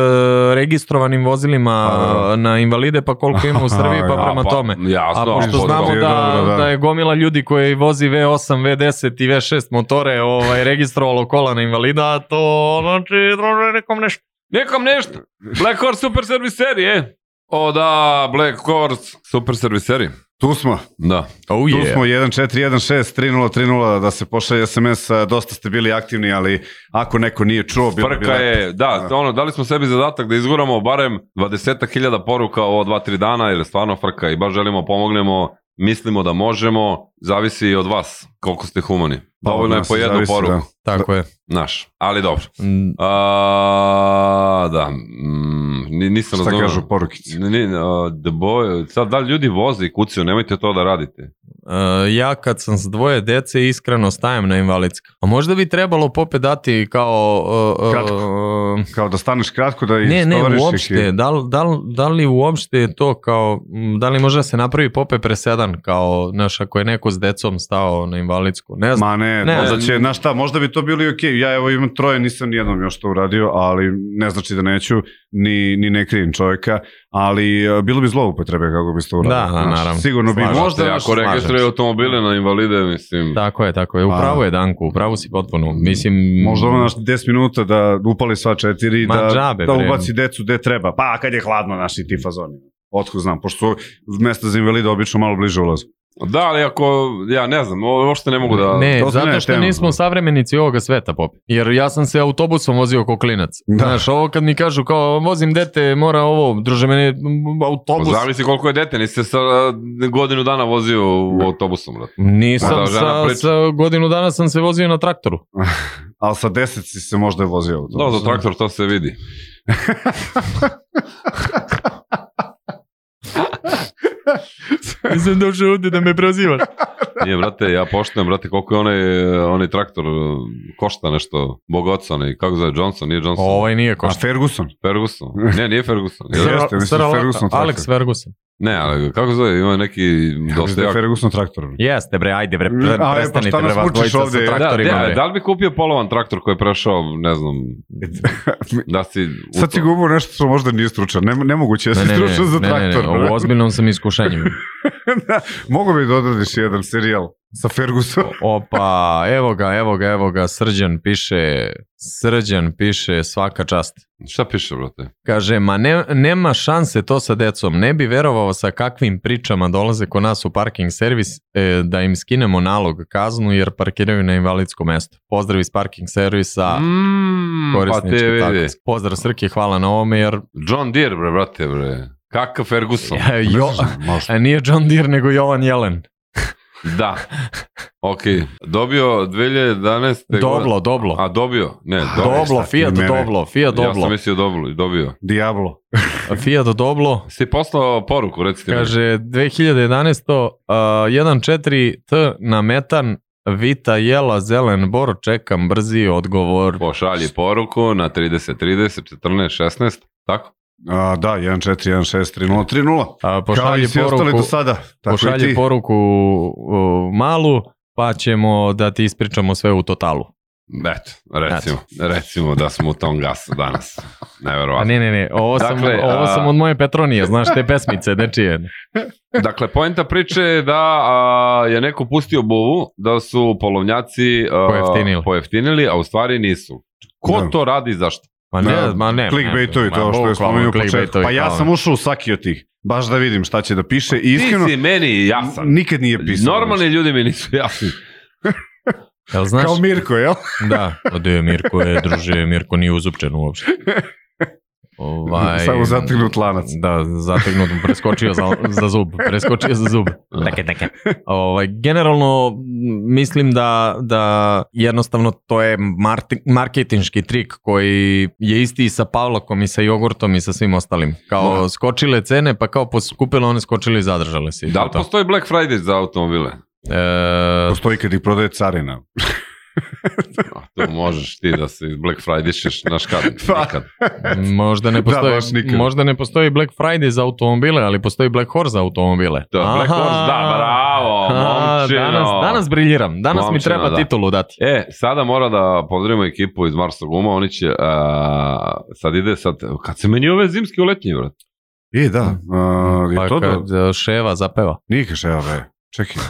G: registrovanim vozilima
H: Pa,
G: na invalide, pa koliko ima u Srbiji,
H: A,
G: pa prema
F: pa,
G: tome.
F: Jasno,
G: A pošto
F: potpuno.
G: znamo
H: je
G: da,
H: dobro, da.
G: da je gomila ljudi koji vozi V8, V10 i V6 motore ovaj, registrovalo kola na invalida, to znači druže nekom nešto.
F: Nekom nešto. Black Horse super serviseri, e. O da, Black Horse super serviseri.
H: Tu smo.
F: Da.
G: Oh
H: Tu smo 14163030 da se pošalje SMS, a, dosta ste bili aktivni, ali ako neko nije čuo, bilo bi
F: Prka
H: lepo.
F: je, da, ono, dali smo sebi zadatak da izguramo barem 20.000 poruka ovo 2-3 dana, jer je stvarno frka i baš želimo pomognemo, mislimo da možemo, zavisi i od vas koliko ste humani.
H: Pa,
F: Dovoljno je
H: nas
F: po jednu
H: zavisi,
F: poruku,
H: da.
G: Tako je.
F: naš, ali dobro.
G: Mm,
F: A, da, mm, ni- nisam
H: Šta
F: razumio.
H: kažu porukice?
F: Ni, ni, a, the boy, sad da li ljudi voze i kucaju, nemojte to da radite.
G: e, ja kad sam s dvoje dece iskreno stajem na invalidska. A možda bi trebalo popet dati kao... e, e,
H: Kratko. Kao da staneš kratko da
G: ne, ne,
H: istovariš ih i-
G: uopšte, da li, da, li, da li uopšte je to kao, m, da li može da se napravi pope presedan kao, znaš, ako je neko s decom stao na invalidsku, ne znam.
H: Ma ne,
G: Ne.
H: možda će, znaš šta, možda bi to bilo i okej. Ja evo imam troje, nisam nijednom još to uradio, ali ne znači da neću, ni, ni ne krivim čovjeka, ali e, bilo bi zloupotrebe kako bi se to uradio.
G: Da, da,
H: Znaš,
G: naravno.
H: Sigurno bi
G: Slažem
H: možda
G: se,
H: još...
F: Ako
G: slažem
F: registruje
G: se.
F: automobile na invalide, mislim,
G: Tako je, tako je.
H: Pa-
G: Upravo je Danko, upravo si potpuno. Mislim,
H: Možda ono naš 10 minuta da upali sva četiri,
G: Mm. Ma,
H: da,
G: džabe,
H: da
G: bre.
H: ubaci decu gde treba. Pa kad je hladno naši ti fazoni. Otko znam, pošto su mesta za invalida obično malo bliže ulazu.
F: Da, ali ako, ja ne znam, ovo uopšte ne mogu da...
G: Ne,
H: to su ne
G: zato što
H: tema.
G: nismo savremenici ovoga sveta, pop. Jer ja sam se autobusom vozio ko klinac.
H: Da.
G: Znaš, ovo kad mi kažu kao vozim dete, mora ovo, druže meni m, autobus.
F: Pa
H: Pa
F: Zavisi koliko je dete, nisi se sa godinu dana vozio u autobusom, brate.
G: Nisam
F: Da, žena
G: sa,
F: priča.
G: sa, godinu dana sam se vozio na traktoru.
H: Ali sa 10 si se možda je vozio. u to.
F: Da, za traktor to se vidi.
G: Nisam došao ovdje da me prozivaš.
F: Nije, brate, ja poštujem, brate, koliko je onaj, eh, onaj traktor eh, košta nešto, bogoc onaj, kako zove, Johnson, nije Johnson,
G: Ovaj nije
H: A
G: košta.
H: Ferguson?
F: Ferguson, ne, nije Ferguson, jel?
H: Jeste, mislim, Ferguson traktor.
G: Alex Ferguson.
F: ne, ali kako zove, ima neki dosta
H: Dosta je
F: jak...
H: Ferguson traktor.
G: Jeste bre, ajde bre,
H: A, e, pa
G: pre, prestanite
H: šta
G: bre,
H: nas
G: vas
H: mučiš
G: dvojica sa
H: ovdje? Da,
F: Da,
G: traktorima.
F: da,
G: bre.
F: da li bi kupio polovan traktor koji je prešao, ne znam, da si... u
H: Sad si
F: to-
H: govorio nešto što možda nije stručan. Ne, nemoguće da
G: Ne,
H: si
G: ne,
H: stručan za
G: ne, ne, ne,
H: traktor.
G: ne, u ozbiljnom sam iskušenju.
H: Da, Mogu bi da odradiš jedan serijal sa Fergusonom.
G: Opa, evo ga, evo ga, evo ga, Srđan piše, Srđan piše svaka čast.
F: Šta piše, brate?
G: Kaže, ma ne, nema šanse to sa decom, ne bi verovao sa kakvim pričama dolaze ko nas u parking servis e, da im skinemo nalog kaznu jer parkiraju na invalidsko mesto. Pozdrav iz parking servisa,
F: Mm, pa
G: korisnički
F: te
G: tako.
F: vidi.
G: Pozdrav Srki, hvala na ovome jer
F: John Deere, bre, brate, bre. Kakav Ferguson.
G: jo, a e, nije John Deere nego Jovan Jelen.
F: Da. Ok. Dobio 2011. godine-
G: Doblo, doblo.
F: A dobio? Ne, dobio.
G: Doblo,
H: šta ti
G: Fiat
H: mene?
G: Doblo, Fiat
F: Ja sam
G: Doblo,
F: mislio dobilo, dobio.
H: Diablo.
G: Fiat Doblo.
F: Si poslao poruku, recite mi.
G: Kaže 2011. Uh, 1.4T na metan, Vita jela zelen bor, čekam brzi odgovor.
F: Pošalji poruku na 30, 30, 14, 16, tako?
H: A, da, 1-4-1-6-3-0-3-0.
G: A,
H: Kao i
G: pošalji
H: svi ostali
G: poruku,
H: do sada. Tako i
G: pošalji
H: ti.
G: poruku uh, malu, pa ćemo da ti ispričamo sve u totalu.
F: Eto, recimo, recimo da smo u tom gasu danas.
G: A
F: Neverovatno.
G: ne, ne, ne, ovo,
F: Dakle,
G: sam, ovo
F: a-
G: sam od moje Petronije, znaš, te pesmice, dečije.
F: Dakle, poenta priče je da a, je neko pustio buvu, da su polovnjaci a,
G: Pojeftinili.
F: pojeftinili, a u stvari nisu. Ko
H: Da.
F: to radi i zašto?
G: Ma ne,
H: Da,
G: ma ne.
H: Clickbaitovi, to je ovo što je spomenuo u početku. Pa ja sam ušao u svaki od tih. Baš da vidim šta će da piše. I iskreno,
F: ono. Ti si meni jasan.
H: nikad nije pisao.
F: Normalni ljudi mi nisu jasni.
G: Jel znaš?
H: Kao Mirko, jel?
G: Da, ode je Mirko, e, je, druže, Mirko nije uzupčen uopšte. Ovaj,
H: Samo zategnut lanac.
G: Da, zategnut, preskočio za, za zub, preskočio za zub. Teke, teke. Ovaj, generalno, m, mislim da, da jednostavno to je marti- marketinški trik koji je isti i sa Pavlakom i sa jogurtom i sa svim ostalim. Kao skočile cene, pa kao poskupile, one skočile i zadržale se.
F: Da li
G: To.
F: postoji Black Friday za automobile?
G: E,
H: Postoji kad ih prodaje carina.
F: To možeš ti da se iz Black Friday-šeš, znaš kad,
H: Pa.
F: nikad.
G: Možda ne
H: Da,
G: postoji,
H: baš nikad.
G: možda ne postoji Black Friday za automobile, ali postoji Black Horse za automobile.
F: To je Black
G: Aha.
F: Horse, da, bravo,
G: A,
F: momčino.
G: danas, danas briljiram, danas mi
F: Momčino,
G: treba
F: da.
G: titulu dati.
F: E, sada mora da pozdravimo ekipu iz Marsa Guma, oni će, a, sad ide sad, kad se menjuju ove zimske u letnji, vrat?
H: I E, da,
F: Mm.
H: a, je
G: Pa
H: to da?
G: kad e, ševa zapeva.
H: Nije kaševa, bre. Čekaj.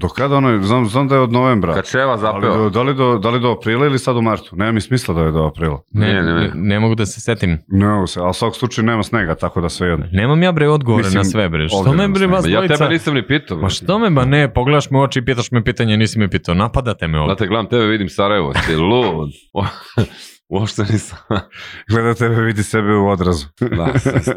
H: Do kada ono je, znam, znam da je od novembra.
F: Kad Ševa
H: Ali
F: zapeo.
H: do, da, li do, da li do aprila ili sad u martu? Nema mi smisla da je do aprila.
G: Ne,
F: Ne,
G: ne,
F: ne, ne.
G: mogu da se setim.
H: Ne, mogu se, ali u svakom slučaju nema snega, tako da sve jedno.
G: Nemam ja bre odgovore
H: Mislim,
G: na sve bre. Što
H: ovdje
G: me
H: nas
G: bre
H: nema.
G: vas
F: Ja
G: dvojica-
F: tebe nisam ni pitao.
G: Ma
F: vrat.
G: što me, ba ne, pogledaš me u oči i pitaš me pitanje, nisi me pitao, napadate me
F: Da
G: ovdje.
F: te gledam, tebe vidim Sarajevo, si lud. Uopšte nisam.
H: Gleda tebe, vidi sebe u odrazu.
F: Da, sad ste.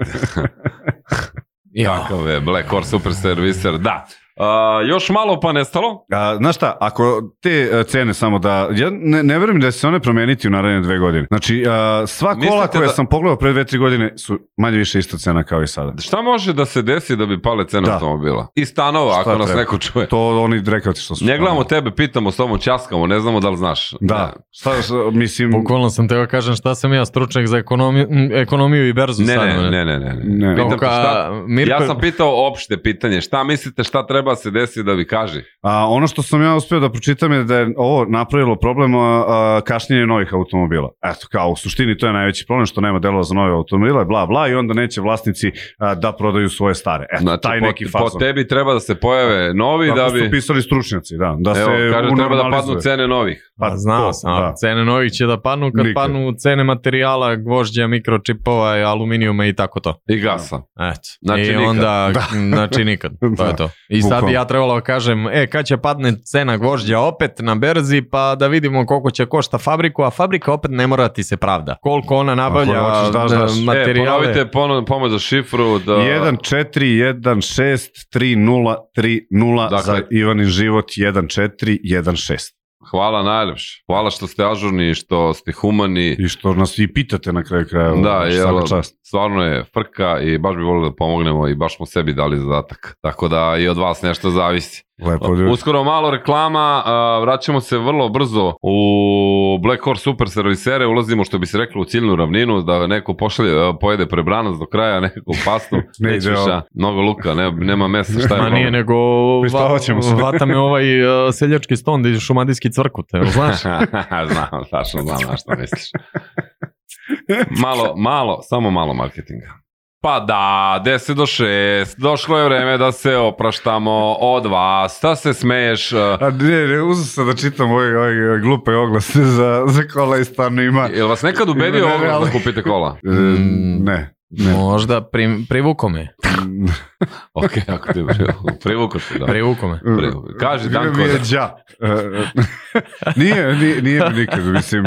G: Ja.
F: Kakav je Black Horse super serviser, da. A, još malo pa nestalo.
H: A, znaš šta, ako te e, cene samo da, ja ne, ne verujem da će se one promeniti u naredne dve godine. Znači, a, sva kola
F: Mislite
H: koja
F: da-
H: sam pogledao pre dve, tri godine su manje više ista cena kao i sada.
F: Šta može da se desi da bi pale cene
H: Da.
F: automobila? I stanova,
H: Šta
F: ako nas
H: treba?
F: neko čuje.
H: To oni rekao ti što su.
F: Ne gledamo tebe, pitamo, s tobom časkamo, ne znamo da li znaš.
H: Da, šta, šta- mislim...
G: Bukvalno sam teo kažem šta sam ja stručnjak za ekonomiju, m, ekonomiju i berzu
F: Ne,
G: sad.
F: ne, ne, ne, ne. ne.
H: Ne.
F: Pitam
G: Kao
F: te
G: ka-
F: šta,
G: Mirko-
F: ja sam pitao opšte pitanje, šta mislite šta treba se desiti da bi kaži?
H: A, ono što sam ja uspio da pročitam je da je ovo napravilo problem a, a, kašnjenje novih automobila. Eto, kao u suštini to je najveći problem što nema delova za nove automobile, bla, bla, i onda neće vlasnici a, da prodaju svoje stare. Eto,
F: Znači,
H: taj
F: po,
H: neki
F: po
H: fazon.
F: tebi treba da se pojave novi
H: Tako
F: da
H: su
F: bi...
H: pisali stručnjaci, da. da
F: Evo,
H: se
F: kaže, treba da
H: unormalizuje.
F: padnu cene novih.
G: Pa, znao
H: to,
G: sam,
H: da.
G: cene novih će da panu kad
H: Nikad.
G: panu cene materijala, gvožđa, mikročipova, aluminijuma i tako to.
F: I gasa.
G: Eto.
F: Znači
G: I
F: nikad.
G: onda, znači nikad. To je
H: Da.
G: to. I sad bi ja trebalo da kažem, e, kad će padne cena gvožđa opet na berzi, pa da vidimo koliko će košta fabriku, a fabrika opet ne mora ti se pravda. Koliko ona nabavlja
H: Ako hoćeš, daš,
G: e,
H: daš. E,
G: materijale.
F: E, ponovite pono- pomoć za šifru. Da...
H: 1 4 1 6 3 0 3 0
F: Dakle.
H: za Ivanin život 1 4 1 6.
F: Hvala najljepše. Hvala što ste ažurni, i što ste humani.
H: I što nas i pitate na kraju kraja.
F: Da, jel,
H: čast.
F: stvarno je frka i baš bi volio da pomognemo i baš smo sebi dali zadatak. Tako da i od vas nešto zavisi.
H: Lepo Pa ljudi.
F: Uskoro malo reklama, a, vraćamo se vrlo brzo u Black Horse Super Servisere, ulazimo što bi se reklo u ciljnu ravninu, da neko pošalje, a, pojede prebranac do kraja, neko pasnu,
H: Ne ide ovo.
F: a, mnogo luka, ne, nema mesa, šta je
G: Ma nije,
F: problem?
G: nego
H: Pristavat ćemo se.
G: vata me ovaj e, seljački ston i šumadijski crkut, evo, znaš?
F: znam, tačno znam na šta misliš. Malo, malo, samo malo marketinga. Pa da, 10 do 6, došlo je vreme da se opraštamo od vas, da se smeješ, eh,
H: A ne, ne, uzem se da čitam ove, ove, ove glupe oglase za, za kola i stvarno ima.
F: jel vas nekad ubedio
H: Ne, ne,
F: oglas da
H: ali-
F: kupite kola?
H: E, ne. Ne.
G: Možda pri, privuko me,
F: Ok, ako ti privuku se, da.
G: privuko me.
F: Privu- Kaži
H: Bio
F: Danko
H: mi je
F: da-
H: đa. E, nije, nije, nije mi nikad, mislim,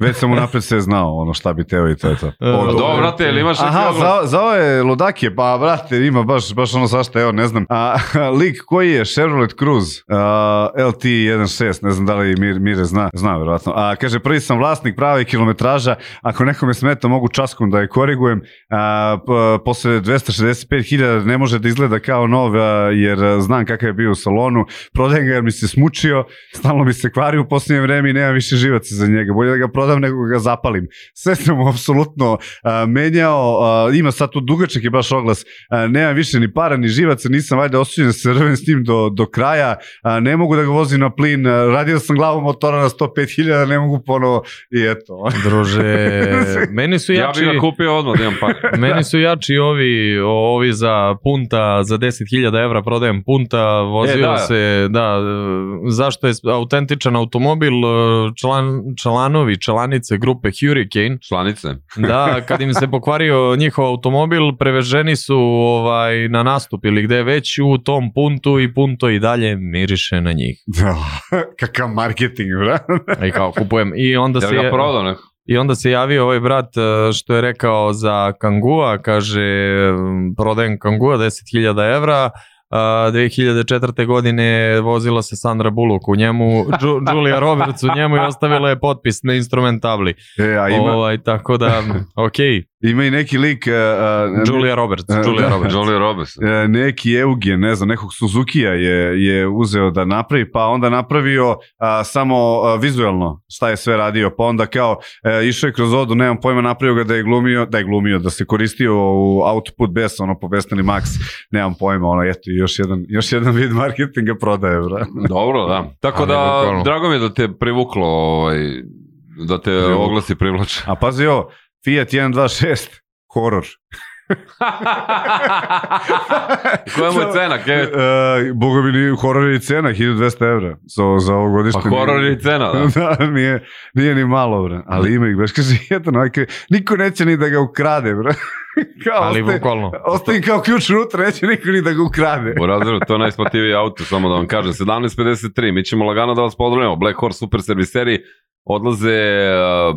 H: već sam unapred sve znao ono šta bi teo i to je to.
F: Pa
G: dobro.
F: Dobro, brate, jel imaš neki
H: Aha,
F: oglas?
H: za, za ove ludakije, pa brate, ima baš, baš ono svašta, evo, ne znam. A, lik koji je Chevrolet Cruze, a, LT16, ne znam da li Mir, Mire zna, zna verovatno. A, kaže, prvi sam vlasnik prave kilometraža, ako nekome smeta mogu časkom da je korigujem, a, p- posle 265.000 ne može da izgleda kao nov, a, jer a, znam kakav je bio u salonu, prodajem ga jer mi se smučio, stalno mi se kvari u posljednje vreme i nemam više živaca za njega, bolje da ga prodam nego ga zapalim. Sve sam mu apsolutno a, menjao, a, ima sad tu dugačak je baš oglas, a, nemam više ni para ni živaca, nisam valjda osuđen da se rven s njim do, do kraja, a, ne mogu da ga vozim na plin, a, radio sam glavom motora na 105.000, ne mogu ponovo i eto.
G: Druže, meni su
F: Ja
G: jači...
F: bih ga kupio odmah pa- da imam par.
G: Meni su jači ovi, ovi za punta, za 10.000 evra prodajem punta, vozio
F: E, da.
G: se, da, e, zašto je autentičan automobil, e, član, članovi, članice grupe Hurricane,
F: Članice.
G: da, kad im se pokvario njihov automobil, preveženi su ovaj, na nastup ili gde već u tom puntu i punto i dalje miriše na njih.
H: Da, kakav marketing, bra.
G: I kao kupujem. I onda
F: Jel
G: se...
F: ga
G: je-
F: prodao neko?
G: I onda se javio ovaj brat e, što je rekao za Kangua, kaže m, prodajem Kangua 10.000 evra, a, 2004. godine vozila se Sandra Bullock u njemu, Ju- Julia Roberts u njemu i ostavila je potpis na instrument tabli.
H: E, a ima,
G: Ovaj, tako da, ok,
H: Ima i neki lik... a, a,
G: Julia Roberts.
H: E,
G: Julia
H: da.
G: Roberts.
F: Julia Roberts.
H: e, neki Eugen, ne znam, nekog Suzukija je, je uzeo da napravi, pa onda napravio a, samo a, vizuelno šta je sve radio, pa onda kao e, išao je kroz vodu, nemam pojma, napravio ga da je glumio, da je glumio, da se koristio u output bes, ono, po Besnani Max, nemam pojma, ono, eto, još jedan, još jedan vid marketinga prodaje, bra.
F: Dobro, da. Tako
H: Ali
F: da,
H: bukvalno.
F: drago mi je da te privuklo, ovaj, da te
H: Privuklo.
F: oglasi privlače.
H: A pazi ovo, Fiat 126, horor.
F: Koja mu je cena?
H: E,
F: Kevin?
H: Boga mi, ni- horor je i cena, 1200 evra za, za ovo
F: Pa
H: godišnje.
F: horor je i cena, Pa da.
H: da, nije, nije ni malo, bre. Ali ima ih, baš kaže, jedan ovakav, niko neće ni da ga ukrade, bre. kao
G: Ali
H: ostaje,
G: bukvalno.
H: ostaje kao ključ unutra, neće niko ni da ga ukrade.
F: U razredu, to je najsplativiji auto, samo da vam kažem. 17.53, mi ćemo lagano da vas pozdravimo. Black Horse Super Serviseri odlaze um,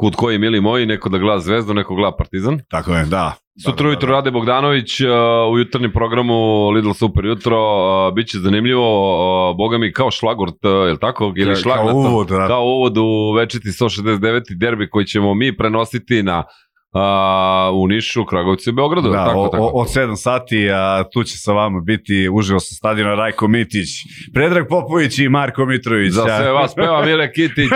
F: kud koji mili moji, neko da gleda Zvezdu, neko gleda Partizan.
H: Tako je, da.
F: Sutra ujutro Rade Bogdanović uh, u jutarnjem programu Lidl Super jutro, uh, bit će zanimljivo, uh, boga mi kao šlagort, uh, je li tako? Ili šlag
H: Kao uvod, da.
F: kao uvod u večiti 169. derbi koji ćemo mi prenositi na a, u Nišu, Kragovicu i Beogradu.
H: Da,
F: tako,
H: o,
F: tako.
H: o, od 7 sati, a tu će sa vama biti uživo sa stadiona Rajko Mitić, Predrag Popović i Marko Mitrović
F: Za
H: a-
F: sve vas peva Mile Kitić.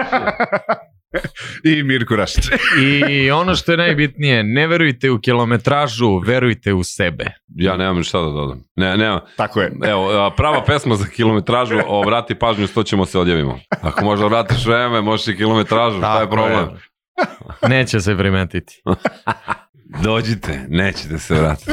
H: i Mirko Rašić.
G: I ono što je najbitnije, ne verujte u kilometražu, verujte u sebe.
F: Ja nemam šta da dodam. Ne, nemam.
H: Tako je.
F: Evo, a, prava pesma za kilometražu, o, vrati pažnju, s to ćemo se odjavimo. Ako možda vratiš vreme, možeš i kilometražu, šta je
G: Tako
F: problem?
G: je. Neće se primetiti.
F: Dođite, nećete se vratiti.